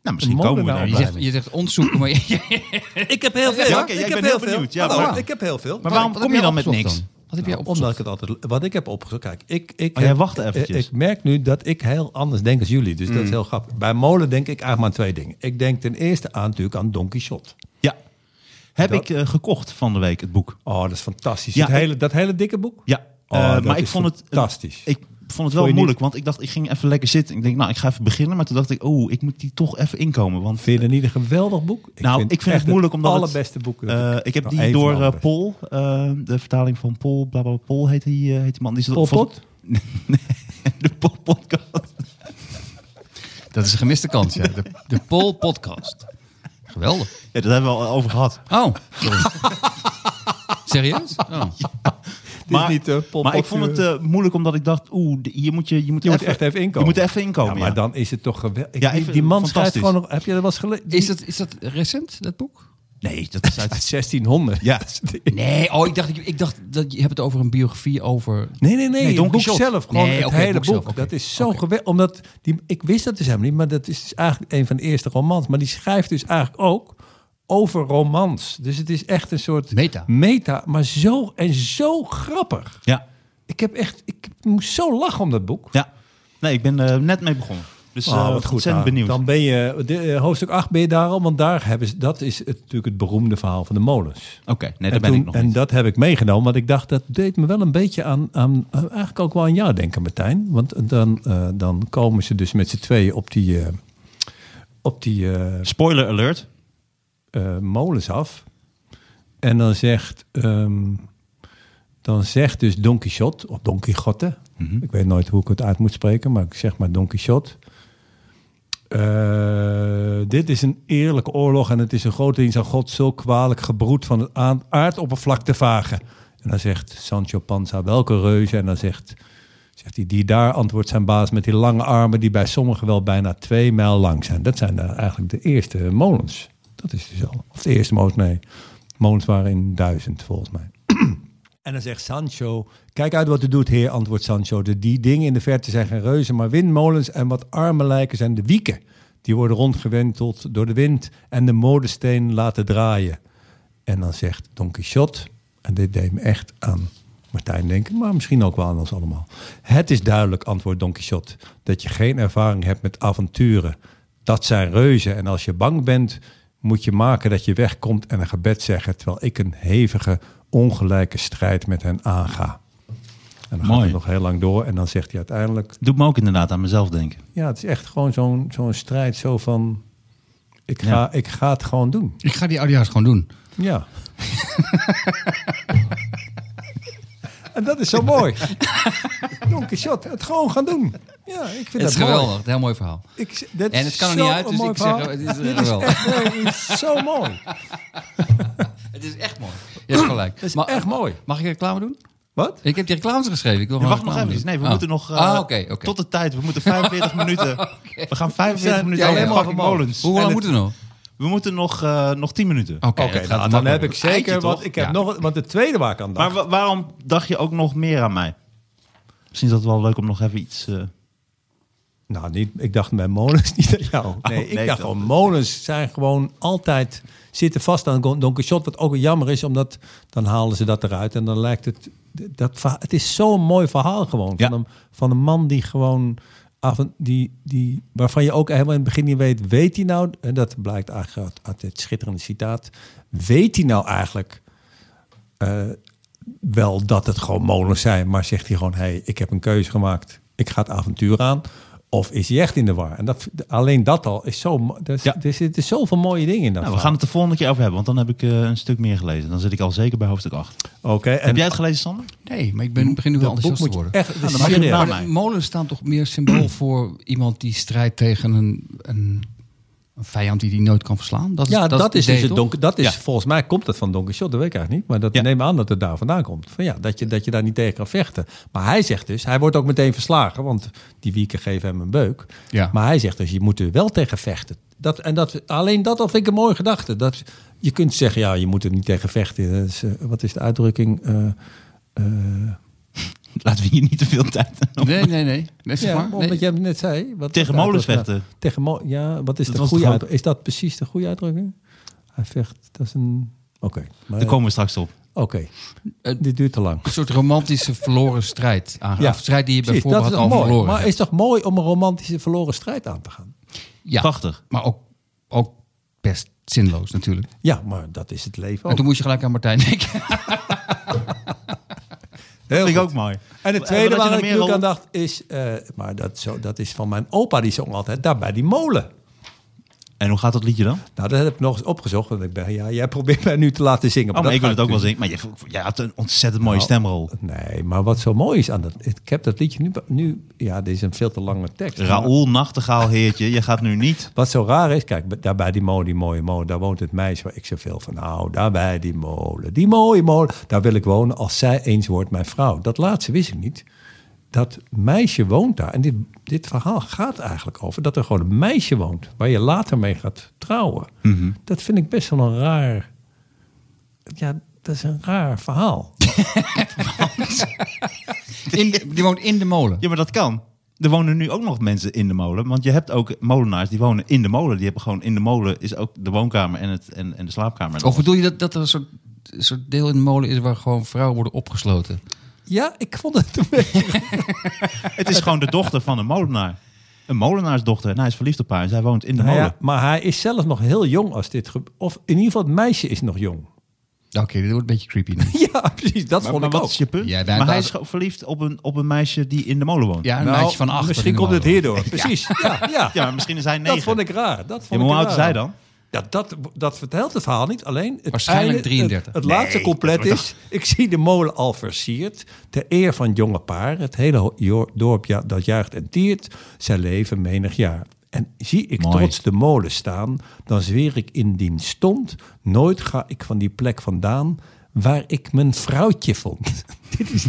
Speaker 2: Nou, misschien
Speaker 3: Een
Speaker 2: komen we
Speaker 3: molenaar.
Speaker 2: daar.
Speaker 4: Je zegt, je zegt ons zoeken, maar je-
Speaker 3: Ik heb heel veel.
Speaker 2: Ja, oké, ja, ik ben heel benieuwd. Ja,
Speaker 3: Hallo,
Speaker 2: maar-
Speaker 3: ik heb heel veel.
Speaker 2: Maar waarom
Speaker 4: Wat
Speaker 2: kom
Speaker 4: heb
Speaker 2: je
Speaker 4: jij
Speaker 2: dan met
Speaker 4: opgezocht
Speaker 2: niks?
Speaker 4: dan? Wat heb jij
Speaker 3: Nou,
Speaker 4: opgezocht?
Speaker 3: omdat ik het altijd, wat ik heb opgezocht. Kijk, ik, ik,
Speaker 2: Oh, jij
Speaker 3: heb-
Speaker 2: wacht
Speaker 3: eh,
Speaker 2: eventjes. Mm.
Speaker 3: Ik merk nu dat ik heel anders denk als jullie. Dus dat is heel grappig. Bij molen denk ik eigenlijk maar aan twee dingen. Ik denk ten eerste aan natuurlijk aan Don Quixote.
Speaker 2: Ja. Heb
Speaker 3: Dat-
Speaker 2: ik eh, gekocht van de week, het boek.
Speaker 3: Oh, dat is fantastisch.
Speaker 2: Ja,
Speaker 3: dat, hele, dat hele dikke boek?
Speaker 2: Ja,
Speaker 3: Oh,
Speaker 2: eh,
Speaker 3: dat
Speaker 2: maar ik
Speaker 3: is
Speaker 2: vond het
Speaker 3: fantastisch.
Speaker 2: Ik vond het
Speaker 3: Vond
Speaker 2: wel
Speaker 3: je
Speaker 2: moeilijk, want ik dacht, ik ging even lekker zitten. Ik denk, nou, ik ga even beginnen, maar toen dacht ik, oh, ik moet die toch even inkomen, want
Speaker 3: Vind je het niet een geweldig boek?
Speaker 2: nou, ik vind
Speaker 3: echt
Speaker 2: het moeilijk
Speaker 3: het
Speaker 2: omdat
Speaker 3: allerbeste boek. dat
Speaker 2: Eh, ik heb
Speaker 3: nou,
Speaker 2: die
Speaker 3: één van
Speaker 2: door
Speaker 3: de
Speaker 2: eh,
Speaker 3: allerbeste.
Speaker 2: Pol, eh, de vertaling van Pol, bla bla, bla, Pol heet die, eh, heet die man. Die is
Speaker 3: Pol
Speaker 2: vol-
Speaker 3: Pot?
Speaker 2: de Pol podcast.
Speaker 4: Dat is een gemiste kans, ja. De, de Pol Podcast. Geweldig.
Speaker 2: Ja, dat hebben we al over gehad.
Speaker 4: Oh, sorry. Serieus? Oh.
Speaker 3: is niet, eh, Pol
Speaker 2: maar
Speaker 3: Pot,
Speaker 2: ik vond het eh, moeilijk omdat ik dacht, oeh, de- hier moet je, je moet,
Speaker 3: Je moet echt even inkomen.
Speaker 2: Je moet even inkomen.
Speaker 3: Ja,
Speaker 2: Ja,
Speaker 3: maar dan is het toch
Speaker 2: Ja,
Speaker 3: geweldig. die,
Speaker 2: ik vind
Speaker 3: die
Speaker 2: het
Speaker 3: man schrijft
Speaker 2: fantastisch.
Speaker 3: gewoon nog... Heb je dat wel eens gelezen?
Speaker 4: Is, dat, is dat recent, dat boek?
Speaker 2: Nee, dat is uit...
Speaker 3: Uit 1600.
Speaker 2: ja,
Speaker 4: Nee, oh, ik dacht, ik, ik dacht dat je hebt het over een biografie over...
Speaker 3: Nee, nee, nee.
Speaker 2: Nee,
Speaker 3: het
Speaker 2: Don
Speaker 3: boek
Speaker 2: Quixote.
Speaker 3: zelf. Gewoon
Speaker 4: Nee,
Speaker 3: het
Speaker 4: oké,
Speaker 3: hele
Speaker 4: boek
Speaker 3: boek.
Speaker 4: zelf, oké.
Speaker 3: Dat is zo geweldig. Omdat die, ik wist dat dus helemaal niet, maar dat is dus eigenlijk een van de eerste romans. Maar die schrijft dus eigenlijk ook over romans. Dus het is echt een soort
Speaker 4: Meta.
Speaker 3: meta maar zo en zo grappig.
Speaker 2: ja,
Speaker 3: Ik heb echt, ik moest zo lachen om dat boek.
Speaker 2: ja. Nee, ik ben eh, net mee begonnen. Dus
Speaker 3: Ah,
Speaker 2: eh wat goed, zijn
Speaker 3: nou,
Speaker 2: benieuwd.
Speaker 3: Dan ben je, de, eh, hoofdstuk 8 ben je daar al, want daar hebben ze, dat is het, natuurlijk het beroemde verhaal van de molens.
Speaker 2: Oké, nee, daar
Speaker 3: en
Speaker 2: ben
Speaker 3: toen-
Speaker 2: ik nog
Speaker 3: en
Speaker 2: niet.
Speaker 3: dat heb ik meegenomen, want ik dacht, dat deed me wel een beetje aan, aan eh, eigenlijk ook wel aan jou denken, Martijn. Want dan, eh, dan komen ze dus met z'n tweeën op die, eh, op die eh,
Speaker 2: Spoiler alert.
Speaker 3: eh, molens af. En dan zegt, ehm, dan zegt dus Don Quixote, of Don Quixote,
Speaker 2: Mhm.
Speaker 3: ik weet nooit hoe ik het uit moet spreken, maar ik zeg maar Don Quixote. Eh, dit is een eerlijke oorlog en het is een grote dienst aan God, zulk kwalijk gebroed van het aan- aardoppervlak te vagen. En dan zegt Sancho Panza, welke reuze? En dan zegt, zegt hij, die daar antwoordt zijn baas met die lange armen die bij sommigen wel bijna twee mijl lang zijn. Dat zijn daar eigenlijk de eerste molens. Dat is dus al, of de eerste molens, nee. Molens waren in duizend volgens mij. En dan zegt Sancho: Kijk uit wat u doet, heer, antwoordt Sancho. De, die dingen in de verte zijn geen reuzen, maar windmolens. En wat arme lijken zijn de wieken. Die worden rondgewenteld door de wind en de modesteen laten draaien. En dan zegt Don Quixote, en dit deed me echt aan Martijn denken, maar misschien ook wel aan ons allemaal. Het is duidelijk, antwoordt Don Quixote, dat je geen ervaring hebt met avonturen. Dat zijn reuzen en als je bang bent, moet je maken dat je wegkomt en een gebed zeggen, terwijl ik een hevige, ongelijke strijd met hen aanga. En dan
Speaker 2: Mooi.
Speaker 3: gaat het nog heel lang door en dan zegt hij uiteindelijk,
Speaker 2: Doet me ook inderdaad aan mezelf denken.
Speaker 3: ja, het is echt gewoon zo'n zo'n strijd, zo van, ik ga,
Speaker 2: Ja.
Speaker 3: ik ga het gewoon doen.
Speaker 4: Ik ga die audio's gewoon doen.
Speaker 3: Ja. en dat is zo mooi. Don Quixote, het gewoon gaan doen. Ja, ik vind
Speaker 4: Het is
Speaker 3: dat
Speaker 4: geweldig,
Speaker 3: mooi.
Speaker 4: een heel mooi verhaal.
Speaker 3: Ik, dit
Speaker 4: En
Speaker 3: is
Speaker 4: het kan er
Speaker 3: zo'n
Speaker 4: niet uit, dus
Speaker 3: mooi
Speaker 4: ik zeg,
Speaker 3: verhaal.
Speaker 4: het is
Speaker 3: Dit is
Speaker 4: geweldig.
Speaker 3: echt mooi, dit is zo mooi.
Speaker 4: Het is echt mooi. Je hebt gelijk.
Speaker 3: Dat is
Speaker 4: Ma-
Speaker 3: echt mooi.
Speaker 4: Mag ik reclame doen?
Speaker 3: Wat?
Speaker 4: Ik heb die reclames geschreven. Ik wil
Speaker 2: Ja,
Speaker 4: gewoon
Speaker 2: wacht nog
Speaker 4: reclame
Speaker 2: even.
Speaker 4: doen.
Speaker 2: Nee, we
Speaker 4: Oh.
Speaker 2: moeten nog... eh,
Speaker 4: ah, oké. oké.
Speaker 2: Tot de tijd. We moeten 45 minuten... We gaan 45
Speaker 3: zijn-
Speaker 2: minuten
Speaker 4: ja,
Speaker 2: over
Speaker 4: ja, ja.
Speaker 2: fucking molens.
Speaker 4: Hoe
Speaker 2: En
Speaker 4: lang
Speaker 2: het-
Speaker 4: moeten we nog?
Speaker 2: We moeten nog, eh, nog 10 minuten.
Speaker 4: Oké,
Speaker 3: Oké,
Speaker 4: het gaat
Speaker 3: nou, dan
Speaker 4: makkelijk.
Speaker 3: heb ik
Speaker 2: Eitje,
Speaker 3: zeker,
Speaker 2: toch?
Speaker 3: want ik heb
Speaker 4: Ja.
Speaker 3: nog, want de tweede waar ik aan dacht.
Speaker 2: Maar wa- waarom dacht je ook nog meer aan mij? Misschien is dat wel leuk om nog even iets... eh,
Speaker 3: nou, niet, ik dacht mijn molens niet aan jou. Nee,
Speaker 2: Oh,
Speaker 3: ik
Speaker 2: nee,
Speaker 3: dacht
Speaker 2: dat-
Speaker 3: gewoon, molens zijn gewoon altijd, zitten vast aan Don Quixote, wat ook wel jammer is, omdat dan halen ze dat eruit en dan lijkt het, dat, verha- het is zo'n mooi verhaal gewoon,
Speaker 2: Ja.
Speaker 3: van, een, van een man die gewoon, af en- die, die, waarvan je ook helemaal in het begin niet weet, weet hij nou, en dat blijkt eigenlijk uit, uit het schitterende citaat, weet hij nou eigenlijk eh, wel dat het gewoon molens zijn, maar zegt hij gewoon: hé, hey, ik heb een keuze gemaakt, ik ga het avontuur aan. Of is hij echt in de war? En dat, alleen dat al is zo. mo- Er, is-
Speaker 2: Ja.
Speaker 3: er zitten zoveel mooie dingen in dat.
Speaker 2: nou, we gaan
Speaker 3: verhaal.
Speaker 2: het de volgende keer over hebben, want dan heb ik eh, een stuk meer gelezen. Dan zit ik al zeker bij hoofdstuk 8.
Speaker 3: Oké, en
Speaker 2: heb jij het gelezen, Sander?
Speaker 4: Nee, maar ik ben, begin nu wel
Speaker 3: dat boek
Speaker 4: enthousiast te
Speaker 3: moet je
Speaker 4: worden.
Speaker 3: echt. het is
Speaker 2: dan mag je
Speaker 3: serieus.
Speaker 2: het
Speaker 4: Maar
Speaker 2: aan
Speaker 4: de
Speaker 2: mij.
Speaker 4: molens staan toch meer symbool voor iemand die strijdt tegen een, een, een vijand die die nooit kan verslaan? Dat is,
Speaker 3: ja, dat, is dus
Speaker 4: idee,
Speaker 3: het
Speaker 4: toch?
Speaker 3: donker. Dat is
Speaker 2: Ja.
Speaker 3: volgens mij komt dat van Don Shot, dat weet ik eigenlijk niet. Maar dat
Speaker 2: Ja.
Speaker 3: neem aan dat het daar vandaan komt. Van ja, dat je, dat je daar niet tegen kan vechten. Maar hij zegt dus, hij wordt ook meteen verslagen, want die wieken geven hem een beuk.
Speaker 4: Ja.
Speaker 3: Maar hij zegt dus, je moet er wel tegen vechten. Dat, en dat, alleen dat al vind ik een mooie gedachte. Dat, je kunt zeggen, ja, je moet er niet tegen vechten. Dat is, eh, wat is de uitdrukking? Eh, eh,
Speaker 2: Laten we hier niet te veel tijd aan.
Speaker 4: Nee, nee, nee. nee zeg
Speaker 3: ja,
Speaker 4: maar.
Speaker 3: want
Speaker 4: Nee.
Speaker 3: wat jij net zei. Wat
Speaker 2: Tegen
Speaker 3: wat-
Speaker 2: molens
Speaker 3: wat-
Speaker 2: vechten.
Speaker 3: Tegen mo- ja, wat is
Speaker 2: Dat
Speaker 3: de
Speaker 2: was
Speaker 3: goede
Speaker 2: toch
Speaker 3: uit- Is dat precies de goede uitdrukking? Hij vecht, dat is een... Oké. maar-
Speaker 2: Daar komen we straks op.
Speaker 3: Oké,
Speaker 2: Eh,
Speaker 4: Het-
Speaker 3: dit duurt te lang.
Speaker 4: Een soort romantische verloren strijd. Aan,
Speaker 3: Ja.
Speaker 4: Of strijd die je
Speaker 3: Precies,
Speaker 4: bijvoorbeeld
Speaker 3: dat is
Speaker 4: al
Speaker 3: toch mooi.
Speaker 4: verloren
Speaker 3: Maar
Speaker 4: hebt.
Speaker 3: is toch mooi om een romantische verloren strijd aan te gaan?
Speaker 4: Ja,
Speaker 2: Prachtig.
Speaker 4: Maar ook, ook best zinloos natuurlijk.
Speaker 3: Ja, maar dat is het leven
Speaker 4: En
Speaker 3: ook.
Speaker 4: toen moest je gelijk aan Martijn denken.
Speaker 2: Dat vind ik ook mooi.
Speaker 3: En het
Speaker 2: Wat had
Speaker 3: tweede
Speaker 2: je
Speaker 3: waar ik
Speaker 2: nog meer
Speaker 3: natuurlijk
Speaker 2: al-
Speaker 3: aan dacht is... eh, maar dat, zo, dat is van mijn opa, die zong altijd daar bij die molen.
Speaker 2: En hoe gaat dat liedje dan? Oh,
Speaker 3: Nou, dat heb ik nog eens opgezocht. Want ik dacht, ja, jij probeert mij nu te laten zingen.
Speaker 2: Oh, maar ik wil het ook wel
Speaker 3: zien.
Speaker 2: zingen. Maar je, jij had een ontzettend mooie stemrol.
Speaker 3: Nee, maar wat zo mooi is aan dat... Ik heb dat liedje nu... nu ja, dit is een veel te lange tekst. maar-
Speaker 2: Raoul Nachtegaal, heertje. Je gaat nu niet...
Speaker 3: Wat zo raar is, kijk, daar bij die molen, die mooie molen, daar woont het meisje waar ik zoveel van hou. Daar bij die molen, die mooie molen, daar wil ik wonen als zij eens wordt mijn vrouw. Dat laatste wist ik niet. dat meisje woont daar. En dit, dit verhaal gaat eigenlijk over dat er gewoon een meisje woont... waar je later mee gaat trouwen.
Speaker 2: Mhm.
Speaker 3: Dat vind ik best wel een raar... Ja, dat is een raar verhaal.
Speaker 4: In de- die woont in de molen.
Speaker 2: Ja, maar dat kan. Er wonen nu ook nog mensen in de molen. Want je hebt ook molenaars die wonen in de molen. Die hebben gewoon in de molen is ook de woonkamer en, het, en, en de slaapkamer.
Speaker 4: Of bedoel je dat, dat er een soort, een soort deel in de molen is waar gewoon vrouwen worden opgesloten?
Speaker 3: Ja, ik vond het een beetje...
Speaker 2: Het is gewoon de dochter van een molenaar. Een molenaarsdochter. En hij is verliefd op haar. En zij woont in de
Speaker 3: Nou ja,
Speaker 2: molen.
Speaker 3: maar hij is zelf nog heel jong als dit... ge- Of in ieder geval het meisje is nog jong.
Speaker 4: Nou, Oké, dit wordt een beetje creepy nu.
Speaker 3: Ja, precies. Dat
Speaker 2: Maar,
Speaker 3: vond
Speaker 2: maar
Speaker 3: ik
Speaker 2: wat
Speaker 3: ook.
Speaker 2: is je punt?
Speaker 4: Ja,
Speaker 2: maar
Speaker 4: daar-
Speaker 2: hij
Speaker 4: daar-
Speaker 2: is gewoon verliefd op een, op een meisje die in de molen woont.
Speaker 4: Ja, een
Speaker 3: Nou,
Speaker 4: meisje van achter.
Speaker 3: Misschien
Speaker 4: in de
Speaker 3: komt het
Speaker 4: molen.
Speaker 3: hierdoor. Precies. Ja, ja.
Speaker 2: Ja, maar misschien is hij negen.
Speaker 3: dat vond ik raar. Dat vond
Speaker 2: Ja, maar hoe
Speaker 3: ik
Speaker 2: oud is
Speaker 3: raar.
Speaker 2: hij dan?
Speaker 3: Ja, dat, dat vertelt het verhaal niet. Alleen het
Speaker 4: Waarschijnlijk
Speaker 3: einde-
Speaker 4: 33.
Speaker 3: Het, het laatste compleet is. Ik zie de molen al versierd. Ter eer van jonge paar. Het hele ho- jo- dorp ja, dat juicht en tiert. Zij leven menig jaar. En zie ik
Speaker 2: Mooi.
Speaker 3: trots de molen staan. Dan zweer ik indien stond. Nooit ga ik van die plek vandaan. Waar ik mijn vrouwtje vond.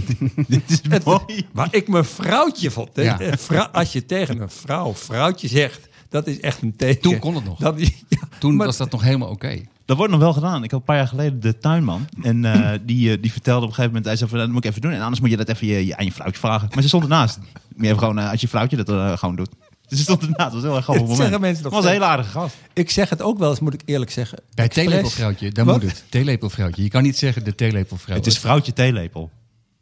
Speaker 2: Dit is
Speaker 3: Het-
Speaker 2: mooi.
Speaker 3: waar ik mijn vrouwtje vond. hè.
Speaker 4: Ja.
Speaker 3: Eh, vrou- als je tegen een vrouw vrouwtje zegt, dat is echt een teken.
Speaker 4: Toen kon het nog.
Speaker 3: Dat, ja,
Speaker 4: Toen
Speaker 3: maar-
Speaker 4: was dat nog helemaal oké.
Speaker 2: Dat wordt nog wel gedaan. Ik had een paar jaar geleden de tuinman. En eh, die, eh, die vertelde op een gegeven moment. Hij zei van, "Nou, dat moet ik even doen. En anders moet je dat even je, je- aan je vrouwtje vragen. Maar ze stond ernaast. Moet je even gewoon, eh, als je vrouwtje dat eh, gewoon doet. Dus ze stond ernaast. Dat was een heel erg grappig
Speaker 3: Dat
Speaker 2: moment.
Speaker 3: zeggen mensen nog
Speaker 2: Dat was een
Speaker 3: steeds.
Speaker 2: hele aardige gast.
Speaker 3: Ik zeg het ook wel eens, moet ik eerlijk zeggen.
Speaker 4: Bij
Speaker 3: Expres.
Speaker 4: theelepelvrouwtje, daar
Speaker 3: Wat?
Speaker 4: moet het. Theelepelvrouwtje. Je kan niet zeggen de theelepelvrouw.
Speaker 2: Het is vrouwtje theelepel.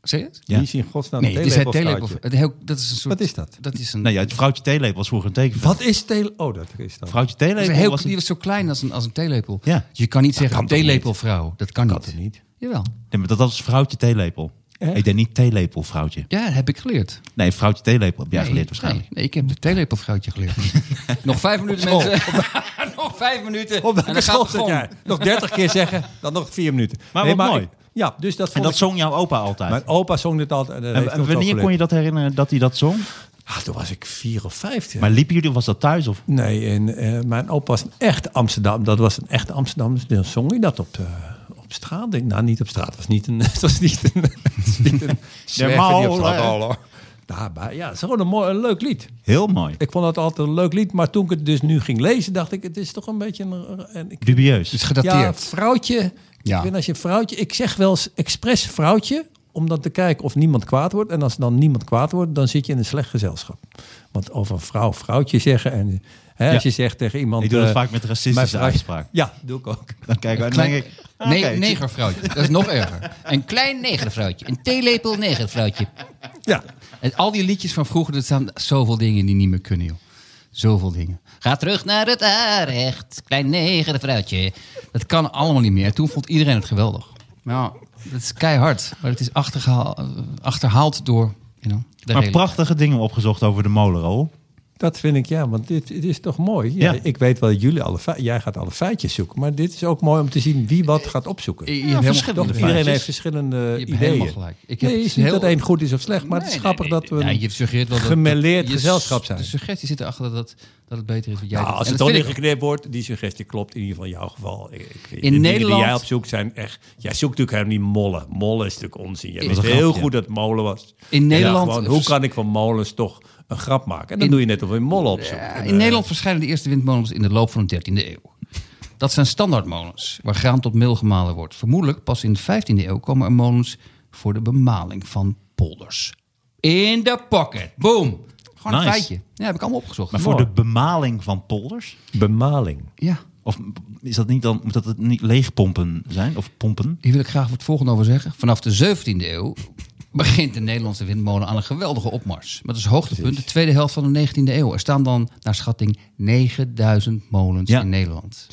Speaker 4: Zie je het?
Speaker 2: Ja.
Speaker 3: Wie is in godsnaam
Speaker 4: Nee,
Speaker 3: nee,
Speaker 4: het is het theelepel.
Speaker 3: theelepelvrouwtje?
Speaker 4: het heel- Dat is een soort.
Speaker 3: Wat is dat?
Speaker 4: Dat is
Speaker 2: Nee,
Speaker 4: een.
Speaker 2: Nou ja, het vrouwtje theelepel was vroeger een teken.
Speaker 3: Wat is tele... Oh, dat is dat.
Speaker 2: Vrouwtje
Speaker 4: dat
Speaker 2: theelepel
Speaker 4: is een heel,
Speaker 2: was een-
Speaker 4: die was zo klein als een, als een theelepel.
Speaker 2: Ja.
Speaker 4: Je kan niet zeggen theelepelvrouw. Dat kan
Speaker 3: Dat
Speaker 4: niet.
Speaker 3: kan niet.
Speaker 4: Jawel.
Speaker 2: Nee, maar dat was vrouwtje theelepel.
Speaker 3: Echt?
Speaker 2: Ik denk niet theelepel vrouwtje.
Speaker 4: Ja, dat heb ik geleerd.
Speaker 2: Nee, vrouwtje theelepel heb jij
Speaker 4: Nee,
Speaker 2: geleerd waarschijnlijk.
Speaker 4: Nee, nee, ik heb de theelepelvrouwtje geleerd. Nog vijf minuten,
Speaker 3: school.
Speaker 4: mensen. Nog vijf minuten.
Speaker 3: Op
Speaker 4: en
Speaker 3: welke
Speaker 4: dan gaat
Speaker 3: school
Speaker 4: het
Speaker 3: zit jij?
Speaker 4: gewoon.
Speaker 3: Nog dertig keer zeggen, dan nog vier minuten.
Speaker 2: Maar wat mooi.
Speaker 3: ik- ja, dus dat
Speaker 2: En
Speaker 3: vond
Speaker 2: dat
Speaker 3: ik-
Speaker 2: zong jouw opa altijd.
Speaker 3: Mijn opa zong dit altijd.
Speaker 2: En- en wanneer kon je dat herinneren dat hij dat zong?
Speaker 3: Ah, toen was ik vier of vijftien.
Speaker 2: Maar liepen jullie, was dat thuis? Of?
Speaker 3: Nee, en, eh, mijn opa was een echte Amsterdam. Dat was een echte Amsterdam. Dan zong je dat op, eh, op straat. Denk, nou, niet op straat. Het was niet een... Het was niet een, het was niet een zwerver die op
Speaker 2: Mauler.
Speaker 3: straat al, hoor. Ja, maar ja, het is gewoon een, mooi, een leuk lied.
Speaker 2: Heel mooi.
Speaker 3: Ik vond dat altijd een leuk lied. Maar toen ik het dus nu ging lezen, dacht ik... Het is toch een beetje een... En ik,
Speaker 2: Dubieus.
Speaker 4: Het is
Speaker 3: ja,
Speaker 4: gedateerd.
Speaker 3: vrouwtje.
Speaker 4: Ja.
Speaker 3: Ik vind als je vrouwtje... Ik zeg wel eens expres vrouwtje om dan te kijken of niemand kwaad wordt. En als dan niemand kwaad wordt, dan zit je in een slecht gezelschap. Want over een vrouw vrouwtje zeggen... En, hè, als
Speaker 2: Ja.
Speaker 3: je zegt tegen iemand...
Speaker 2: Ik doe dat
Speaker 3: eh,
Speaker 2: vaak met
Speaker 3: mijn
Speaker 2: racistische
Speaker 3: vrouw-
Speaker 2: uitspraak.
Speaker 3: Ja, doe ik ook.
Speaker 2: Dan kijken we en dan
Speaker 4: Klein-
Speaker 2: denk ik... ah,
Speaker 4: Nee,
Speaker 2: oké.
Speaker 4: negervrouwtje. Dat is nog erger.
Speaker 5: Een klein negervrouwtje. Een theelepel negervrouwtje.
Speaker 3: Ja.
Speaker 4: En al die liedjes van vroeger, er staan zoveel dingen die niet meer kunnen, joh. Zoveel dingen.
Speaker 5: Ga terug naar het aanrecht. Klein negervrouwtje.
Speaker 4: Dat kan allemaal niet meer. Toen vond iedereen het geweldig. Nou, dat is keihard. Maar het is achtergehaald, achterhaald door you know, de
Speaker 2: Maar
Speaker 4: reden.
Speaker 2: prachtige dingen opgezocht over de molenrol.
Speaker 3: Dat vind ik, ja, want dit, dit is toch mooi. Ja,
Speaker 2: Ja.
Speaker 3: Ik weet wel, dat jullie alle fei- jij gaat alle feitjes zoeken. Maar dit is ook mooi om te zien wie wat gaat opzoeken.
Speaker 4: Je- je
Speaker 2: Ja,
Speaker 4: hebt helemaal-
Speaker 2: verschillende
Speaker 3: Toch,
Speaker 2: de
Speaker 3: iedereen
Speaker 2: feitjes.
Speaker 3: heeft verschillende
Speaker 4: hebt
Speaker 3: ideeën.
Speaker 4: helemaal gelijk. Ik heb
Speaker 3: nee, het is niet
Speaker 4: heel-
Speaker 3: dat één goed is of slecht, maar het
Speaker 4: Nee,
Speaker 3: is
Speaker 4: nee,
Speaker 3: grappig
Speaker 4: nee,
Speaker 3: dat we een
Speaker 4: nee. Ja, je suggereert wel dat-
Speaker 3: gemêleerd
Speaker 4: dat- je
Speaker 3: gezelschap
Speaker 4: su-
Speaker 3: zijn.
Speaker 4: De suggestie zit erachter dat, dat het beter is wat jij
Speaker 3: Nou,
Speaker 4: doet.
Speaker 3: als
Speaker 4: En
Speaker 3: het
Speaker 4: dat
Speaker 3: dan
Speaker 4: vind ik
Speaker 3: ingeknipt wordt, die suggestie klopt in ieder geval in jouw geval. Ik- ik- de dingen
Speaker 4: Nederland-
Speaker 3: Die jij op zoek zijn echt... Jij zoekt natuurlijk helemaal niet mollen. Mollen is natuurlijk onzin. Jij
Speaker 4: In-
Speaker 3: wist
Speaker 2: Dat is een
Speaker 3: heel
Speaker 2: grapje.
Speaker 3: goed dat molen was.
Speaker 4: In
Speaker 3: En dan
Speaker 4: Nederland-
Speaker 3: gewoon, hoe kan ik van molens toch een grap maken? En dan
Speaker 4: In-
Speaker 3: doe je net of je mollen opzoekt.
Speaker 4: Ja,
Speaker 3: En,
Speaker 4: in
Speaker 3: eh,
Speaker 4: Nederland verschijnen de eerste windmolens in de loop van de 13e eeuw. Dat zijn standaardmolens, waar graan tot meel gemalen wordt. Vermoedelijk pas in de 15e eeuw komen er molens voor de bemaling van polders. In de pocket. Boom. Gewoon een
Speaker 2: Nice.
Speaker 4: feitje. Ja, heb ik allemaal opgezocht.
Speaker 2: Maar voor
Speaker 4: Mooi.
Speaker 2: de bemaling van polders?
Speaker 3: Bemaling.
Speaker 4: Ja,
Speaker 2: Of is dat niet dan, moet dat het niet leegpompen zijn? Of pompen?
Speaker 4: hier wil ik graag wat volgende over zeggen. Vanaf de 17e eeuw begint de Nederlandse windmolen aan een geweldige opmars. Maar dat is hoogtepunt de tweede helft van de 19e eeuw. Er staan dan, naar schatting, 9000 molens
Speaker 2: Ja.
Speaker 4: in Nederland.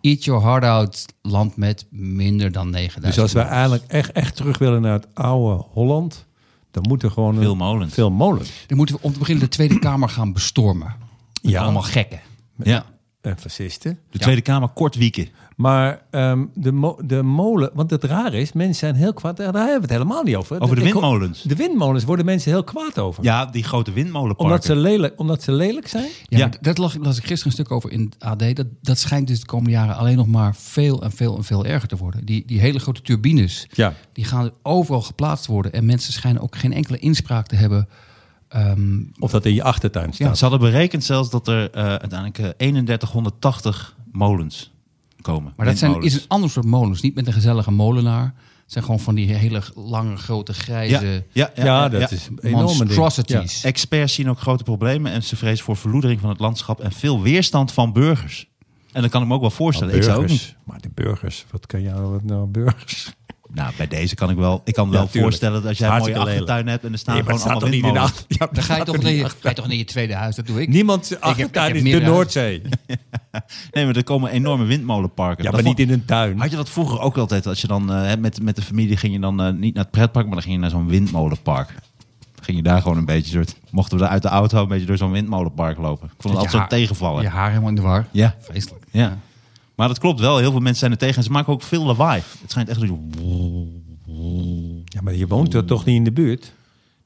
Speaker 4: Eat your heart out land met minder dan 9000.
Speaker 3: Dus als wij
Speaker 4: molens.
Speaker 3: eigenlijk echt, echt terug willen naar het oude Holland... dan moeten gewoon... een-
Speaker 2: Veel molens.
Speaker 3: Veel molens.
Speaker 4: Dan moeten we om te beginnen de Tweede Kamer gaan bestormen. Ja.
Speaker 3: Ja.
Speaker 4: Allemaal gekken.
Speaker 2: Ja.
Speaker 3: en fascisten.
Speaker 2: De Tweede Kamer kort wieken.
Speaker 3: Maar ehm, de, mo- de molen, want het rare is, mensen zijn heel kwaad. Daar hebben we het helemaal niet over.
Speaker 2: Over de
Speaker 3: Ik ho-
Speaker 2: windmolens.
Speaker 3: De windmolens worden mensen heel kwaad over.
Speaker 2: Ja, die grote windmolenparken.
Speaker 3: omdat, ze lelijk, omdat ze lelijk zijn.
Speaker 4: Ja,
Speaker 2: Ja.
Speaker 4: maar dat las, las ik gisteren een stuk over in het AD. Dat, dat schijnt dus de komende jaren alleen nog maar veel en veel en veel erger te worden. Die, die hele grote turbines,
Speaker 3: Ja.
Speaker 4: die gaan overal geplaatst worden. En mensen schijnen ook geen enkele inspraak te hebben. ehm,
Speaker 3: Of dat in je achtertuin
Speaker 2: Ja,
Speaker 3: staat.
Speaker 2: ze hadden berekend zelfs dat er eh, uiteindelijk eh, 3180 molens komen.
Speaker 4: maar dat zijn, is
Speaker 2: Windmolens.
Speaker 4: een ander soort molens. Niet met een gezellige molenaar. Het zijn gewoon van die hele lange, grote, grijze
Speaker 2: ja, ja,
Speaker 3: Ja,
Speaker 2: ja,
Speaker 3: dat
Speaker 2: ja.
Speaker 3: is een enorme ding. Ja.
Speaker 4: monstrosities.
Speaker 2: Experts zien ook grote problemen en ze vrezen voor verloedering van het landschap en veel weerstand van burgers. En dat kan ik me ook wel voorstellen. ik zou ook niet.
Speaker 3: Maar de burgers, wat kan jou wat nou burgers?
Speaker 2: Nou, bij deze kan ik wel. Ik kan me
Speaker 3: Ja,
Speaker 2: wel
Speaker 3: tuurlijk.
Speaker 2: voorstellen dat als jij een mooie
Speaker 3: Hartstikke
Speaker 2: achtertuin
Speaker 3: lelijk.
Speaker 2: hebt en er staan
Speaker 3: Nee, maar het
Speaker 2: gewoon
Speaker 3: staat
Speaker 2: allemaal
Speaker 3: toch niet in de
Speaker 2: windmolens.
Speaker 3: achter- Ja,
Speaker 4: Dan ga je
Speaker 3: staat
Speaker 4: toch,
Speaker 3: er
Speaker 4: naar
Speaker 3: niet
Speaker 4: je,
Speaker 3: achter-
Speaker 4: ga je toch naar je tweede huis, dat doe ik.
Speaker 3: Niemand
Speaker 4: ik
Speaker 3: achtertuin
Speaker 4: heb
Speaker 3: is de
Speaker 4: meerdere
Speaker 3: Noordzee.
Speaker 2: Nee, maar er komen enorme windmolenparken.
Speaker 3: Ja,
Speaker 2: Dat
Speaker 3: maar
Speaker 2: vond-
Speaker 3: niet in een tuin.
Speaker 2: Had je dat vroeger ook altijd? Als je dan eh, met, met de familie ging je dan eh, niet naar het pretpark, maar dan ging je naar zo'n windmolenpark. Ging je daar gewoon een beetje soort. Mochten we daar uit de auto een beetje door zo'n windmolenpark lopen? Ik vond het
Speaker 4: Dat je
Speaker 2: altijd zo'n
Speaker 4: haar-
Speaker 2: tegenvallen.
Speaker 4: Je haar helemaal in de war.
Speaker 2: Ja.
Speaker 4: Vreselijk.
Speaker 2: ja. Maar dat klopt wel. Heel veel mensen zijn er tegen en ze maken ook veel lawaai. Het schijnt echt. dat je-
Speaker 3: Ja, maar je woont er toch niet in de buurt?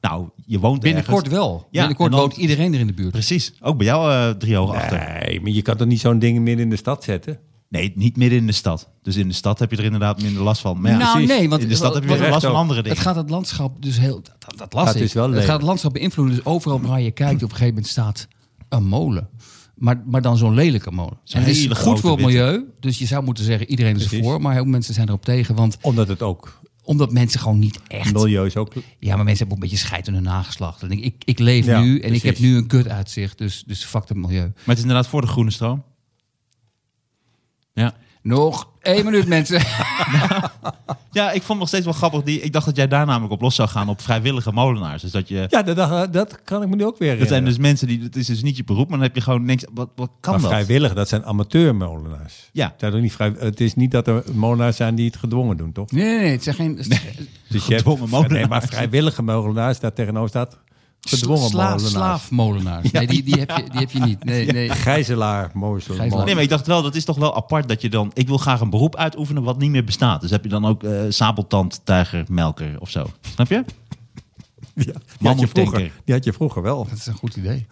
Speaker 2: Nou, je woont
Speaker 4: Binnenkort
Speaker 2: ergens.
Speaker 4: wel.
Speaker 2: Ja,
Speaker 4: Binnenkort
Speaker 2: en dan-
Speaker 4: woont iedereen er in de buurt.
Speaker 2: Precies. Ook bij jou eh drie hoog achter.
Speaker 3: Nee, maar je kan toch niet zo'n ding midden in de stad zetten?
Speaker 2: Nee, niet midden in de stad. Dus in de stad heb je er inderdaad minder last van. Maar ja,
Speaker 4: nou,
Speaker 3: precies.
Speaker 4: nee, want
Speaker 2: in de stad heb je
Speaker 4: wat-
Speaker 2: weer
Speaker 3: wat-
Speaker 2: last van andere dingen.
Speaker 4: het gaat het landschap dus heel. Dat, dat- dat las
Speaker 3: Dat
Speaker 4: ik.
Speaker 3: is wel
Speaker 4: het
Speaker 3: lelijk.
Speaker 4: gaat het landschap beïnvloeden. Dus overal waar je kijkt, op een gegeven moment staat een molen. Maar, maar dan zo'n lelijke molen. en het is
Speaker 2: hele
Speaker 4: goed
Speaker 2: grote
Speaker 4: voor het
Speaker 2: witte.
Speaker 4: milieu. Dus je zou moeten zeggen, iedereen is
Speaker 3: Precies.
Speaker 4: ervoor. Maar heel veel mensen zijn erop tegen. Want
Speaker 3: Omdat het ook
Speaker 4: omdat mensen gewoon niet echt.
Speaker 3: milieu is ook...
Speaker 4: Ja, maar mensen hebben ook een beetje scheid aan hun nageslacht. En ik, ik, ik leef
Speaker 3: Ja,
Speaker 4: nu en ik heb
Speaker 3: precies.
Speaker 4: nu een kut uitzicht. Dus, dus fuck het milieu.
Speaker 2: Maar het is inderdaad voor de groene stroom. Ja.
Speaker 4: Nog één minuut, mensen.
Speaker 2: Ja, ik vond het nog steeds wel grappig. Die, ik dacht dat jij daar namelijk op los zou gaan op vrijwillige molenaars. Dus dat je.
Speaker 3: Ja, dat, dat, dat kan ik me nu ook weer
Speaker 2: Dat zijn
Speaker 3: herinneren.
Speaker 2: dus mensen die. Het is dus niet je beroep, maar dan heb je gewoon niks. Wat, wat kan
Speaker 3: maar
Speaker 2: dat?
Speaker 3: vrijwillig, dat zijn amateurmolenaars.
Speaker 2: Ja.
Speaker 3: Zijn toch niet vrij, het is niet dat er molenaars zijn die het gedwongen doen, toch?
Speaker 4: Nee, nee, nee. Het zijn geen.
Speaker 3: Dus je hebt-
Speaker 2: Gedwongen molenaars.
Speaker 3: Nee, maar vrijwillige molenaars, daar tegenover staat gedwongen
Speaker 4: Sla-
Speaker 3: molenaars.
Speaker 4: slaafmolenaars. Nee, die, die, heb je, die heb je niet. Nee, nee.
Speaker 3: Gijzelaar, mozel,
Speaker 4: Gijzelaar.
Speaker 3: molen-
Speaker 2: Nee, maar ik dacht wel, dat is toch wel apart dat je dan. Ik wil graag een beroep uitoefenen wat niet meer bestaat. Dus heb je dan ook eh sabeltand, tijger, melker of zo. Snap je?
Speaker 3: Ja, die, had je
Speaker 2: Mammoetdenker.
Speaker 3: vroeger, die had je vroeger wel.
Speaker 4: Dat is een goed idee.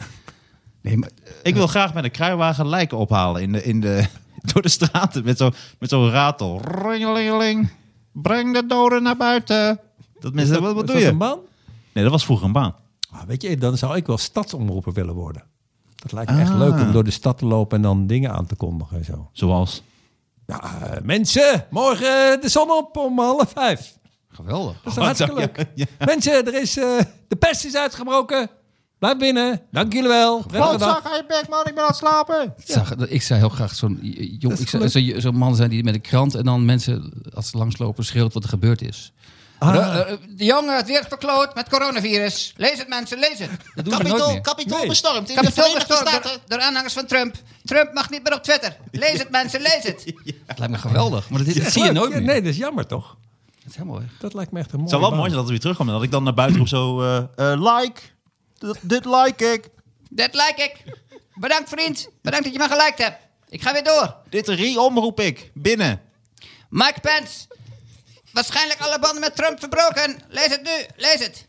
Speaker 4: Nee, maar,
Speaker 2: Ik wil graag met een kruiwagen lijken ophalen in de, in de, door de straten met zo'n met zo'n ratel. Ringelingeling, breng de doden naar buiten. Dat mensen,
Speaker 3: Is dat-
Speaker 2: wat, wat
Speaker 3: is
Speaker 2: doe
Speaker 3: dat
Speaker 2: je?
Speaker 3: een baan?
Speaker 2: Nee, dat was vroeger een baan.
Speaker 3: Ah, weet je, dan zou ik wel stadsomroeper willen worden. Dat lijkt me
Speaker 2: Ah.
Speaker 3: echt leuk om door de stad te lopen en dan dingen aan te kondigen en zo.
Speaker 2: Zoals.
Speaker 3: Ja, eh, mensen, morgen de zon op om half vijf.
Speaker 4: geweldig.
Speaker 3: Dat is toch
Speaker 2: Wat
Speaker 3: hartstikke
Speaker 2: zou-
Speaker 3: leuk. Mensen, er is, eh, de pest is uitgebroken. Blijf binnen. Dank jullie wel. Prettige dag.
Speaker 2: ga je bek, man, ik ben aan het slapen.
Speaker 4: Het zag- ik zou heel graag zo'n eh, jong,
Speaker 3: is
Speaker 4: ik zou-
Speaker 3: leuk.
Speaker 4: zo'n zo'n man zijn die met een krant en dan mensen als ze langslopen schreeuwt wat er gebeurd is.
Speaker 3: Ah,
Speaker 5: Eh, eh, De jongen het weer verkloot met coronavirus. Lees het mensen, lees het.
Speaker 4: Dat doen ze nooit
Speaker 5: Kapitool,
Speaker 4: meer.
Speaker 5: kapitool
Speaker 3: Nee.
Speaker 5: bestormd in de Verenigde Staten. Door aanhangers van Trump. Trump mag niet meer op Twitter. Lees het mensen, lees het.
Speaker 4: Dat lijkt me geweldig. Maar dat, dat zie je
Speaker 3: Leuk.
Speaker 4: nooit
Speaker 3: Ja,
Speaker 4: meer.
Speaker 3: Nee, dat is jammer toch?
Speaker 4: Dat is helemaal weg.
Speaker 3: Dat lijkt me echt een mooie
Speaker 2: Het zou wel
Speaker 3: baan.
Speaker 2: mooi zijn dat het weer terugkomt. En dat ik dan naar buiten roep zo... eh, eh, like, D- dit like ik.
Speaker 5: Dat like ik. Bedankt vriend. Bedankt dat je me geliked hebt. Ik ga weer door.
Speaker 2: Dit re-omroep ik. Binnen.
Speaker 5: Mike Pence. Waarschijnlijk alle banden met Trump verbroken. Lees het nu, lees het.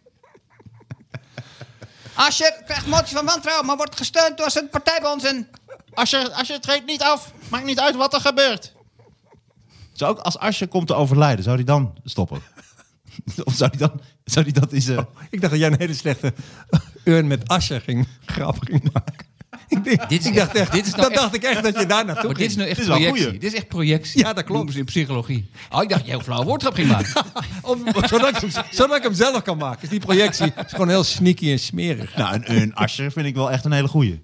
Speaker 5: Asscher krijgt motie van wantrouwen, maar wordt gesteund door zijn partijbonzen.
Speaker 2: Als je, als je treedt niet af, maakt niet uit wat er gebeurt. Zou ook als Asje komt te overlijden, zou die dan stoppen? of zou die dan... Zou die dat is... eh,
Speaker 3: Ik dacht dat jij een hele slechte urn met asje ging grappig ging maken. Ik, denk,
Speaker 4: Dit is
Speaker 3: ik dacht
Speaker 4: echt-
Speaker 3: echt,
Speaker 4: dit is nou
Speaker 3: dat
Speaker 4: echt-
Speaker 3: dacht ik echt dat je daar naartoe
Speaker 4: Maar dit is
Speaker 3: ging.
Speaker 4: nu echt
Speaker 2: Dit is wel een
Speaker 4: projectie.
Speaker 2: goeie.
Speaker 4: Dit is echt projectie.
Speaker 3: Ja, dat klopt.
Speaker 4: Noemen ze in psychologie. Oh, ik dacht, je heel flauw woordgrap ging maken.
Speaker 3: Om- zodat, ik hem, zodat ik hem zelf kan maken. Dus die projectie is gewoon heel sneaky en smerig.
Speaker 2: Nou, een, een Asje vind ik wel echt een hele goeie.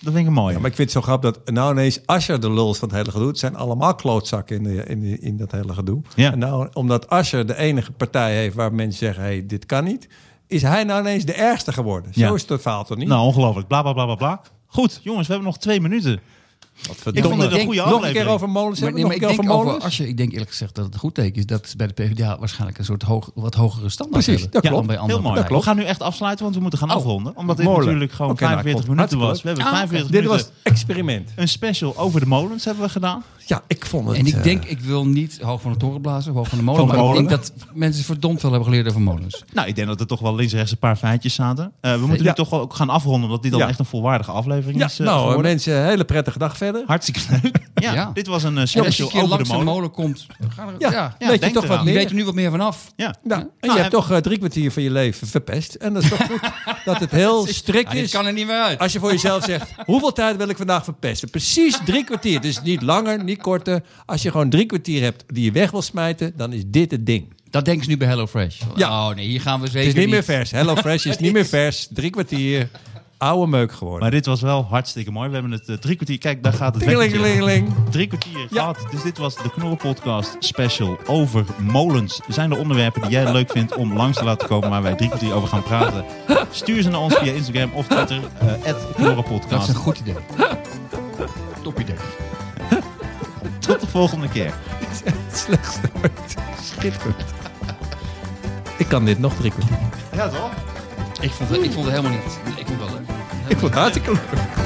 Speaker 2: Dat vind ik mooi.
Speaker 3: Maar ik vind het zo grappig dat nou ineens Asher de lul is van het hele gedoe. Het zijn allemaal klootzakken in, de, in, de- in dat hele gedoe.
Speaker 2: Ja.
Speaker 3: En nou, omdat Asher de enige partij heeft waar mensen zeggen, hey, dit kan niet. Is hij nou ineens de ergste geworden? Zo
Speaker 2: Ja.
Speaker 4: Nou,
Speaker 3: is het verhaal toch niet?
Speaker 2: Nou, ongelooflijk. Bla, bla, bla, bla, bla. Goed, jongens, we hebben nog twee minuten. Ik vond het een goede
Speaker 3: Nog een keer
Speaker 2: aflevering.
Speaker 3: over molens
Speaker 4: Maar,
Speaker 3: hebben? Nog
Speaker 4: nee, maar
Speaker 3: een
Speaker 4: ik
Speaker 3: keer over
Speaker 4: denk over
Speaker 3: molens?
Speaker 4: Asscher, ik denk eerlijk gezegd dat het een goed teken is dat ze bij de PvdA waarschijnlijk een soort hoog, wat hogere standaard
Speaker 3: Precies,
Speaker 4: hebben
Speaker 3: dat
Speaker 4: dan
Speaker 3: klopt.
Speaker 4: bij andere
Speaker 2: Heel mooi. Nou,
Speaker 4: partijen.
Speaker 2: We gaan nu echt afsluiten, want we moeten gaan afronden. Omdat dit
Speaker 3: molen.
Speaker 2: natuurlijk gewoon
Speaker 3: Oké, nou,
Speaker 2: 45
Speaker 3: klopt.
Speaker 2: minuten was.
Speaker 3: Hartstikke Ah,
Speaker 2: We hebben
Speaker 4: leuk.
Speaker 2: 45
Speaker 3: Dit was
Speaker 2: minuten.
Speaker 3: het experiment.
Speaker 2: Een special over de molens hebben we gedaan.
Speaker 3: Ja, ik vond het...
Speaker 4: En ik
Speaker 3: eh,
Speaker 4: denk, ik wil niet hoog van de toren blazen, hoog van de molen.
Speaker 2: Van de
Speaker 4: maar
Speaker 2: molen.
Speaker 4: ik denk dat mensen verdomd veel hebben geleerd over molens.
Speaker 2: Nou, ik denk dat er toch wel links en rechts een paar feitjes zaten. Eh, we moeten
Speaker 3: Ja.
Speaker 2: nu toch wel ook gaan afronden, omdat dit dan
Speaker 3: Ja.
Speaker 2: echt een volwaardige aflevering
Speaker 3: Ja,
Speaker 2: is. eh,
Speaker 3: nou eh,
Speaker 2: geworden.
Speaker 3: mensen, een hele prettige dag verder.
Speaker 2: Hartstikke leuk. Ja,
Speaker 4: Ja.
Speaker 2: dit was een eh,
Speaker 4: En als je
Speaker 2: special
Speaker 4: een
Speaker 2: over
Speaker 4: keer
Speaker 2: de
Speaker 4: langs een
Speaker 2: molen.
Speaker 4: molen komt, ga er-
Speaker 3: Ja,
Speaker 4: ja,
Speaker 2: Ja,
Speaker 3: weet je
Speaker 2: denk
Speaker 3: toch wat
Speaker 2: eraan.
Speaker 4: je
Speaker 3: meer?
Speaker 4: weet er nu wat meer vanaf.
Speaker 2: Ja.
Speaker 3: Nou, en
Speaker 2: Nou,
Speaker 3: je
Speaker 2: en-
Speaker 3: hebt toch eh, drie kwartier van je leven verpest. En dat is toch goed dat het heel strikt
Speaker 4: Ja, dit
Speaker 3: is.
Speaker 4: kan er niet meer uit.
Speaker 3: Als je voor jezelf zegt, hoeveel tijd wil ik vandaag verpesten? Precies drie kwartier. Dus niet langer, niet korter. Als je gewoon drie kwartier hebt die je weg wil smijten, dan is dit het ding.
Speaker 4: Dat denken ze nu bij HelloFresh.
Speaker 3: Ja.
Speaker 4: Oh nee, hier gaan we zeker
Speaker 3: Het is niet meer vers. Hello Fresh is niet meer vers. Drie kwartier. Oude meuk geworden.
Speaker 2: Maar dit was wel hartstikke mooi. We hebben het eh, drie kwartier. Kijk, daar gaat het wekkertje.
Speaker 3: Tingelingelingeling.
Speaker 2: Drie kwartier
Speaker 3: Ja.
Speaker 2: gehad. Dus dit was de Knorren Podcast special over molens. Zijn er onderwerpen die jij leuk vindt om langs te laten komen waar wij drie kwartier over gaan praten? Stuur ze naar ons via Instagram of Twitter. eh @knorrenpodcast.
Speaker 4: Dat is een goed idee. Top idee.
Speaker 2: Tot de volgende keer.
Speaker 3: Het slechtste ooit. Schitterend. Ik kan dit nog drie kwartier.
Speaker 2: Ja, toch?
Speaker 4: Ik vond, het- ik vond het helemaal niet. Ik vond het wel leuk.
Speaker 3: Ik vond het hartstikke leuk.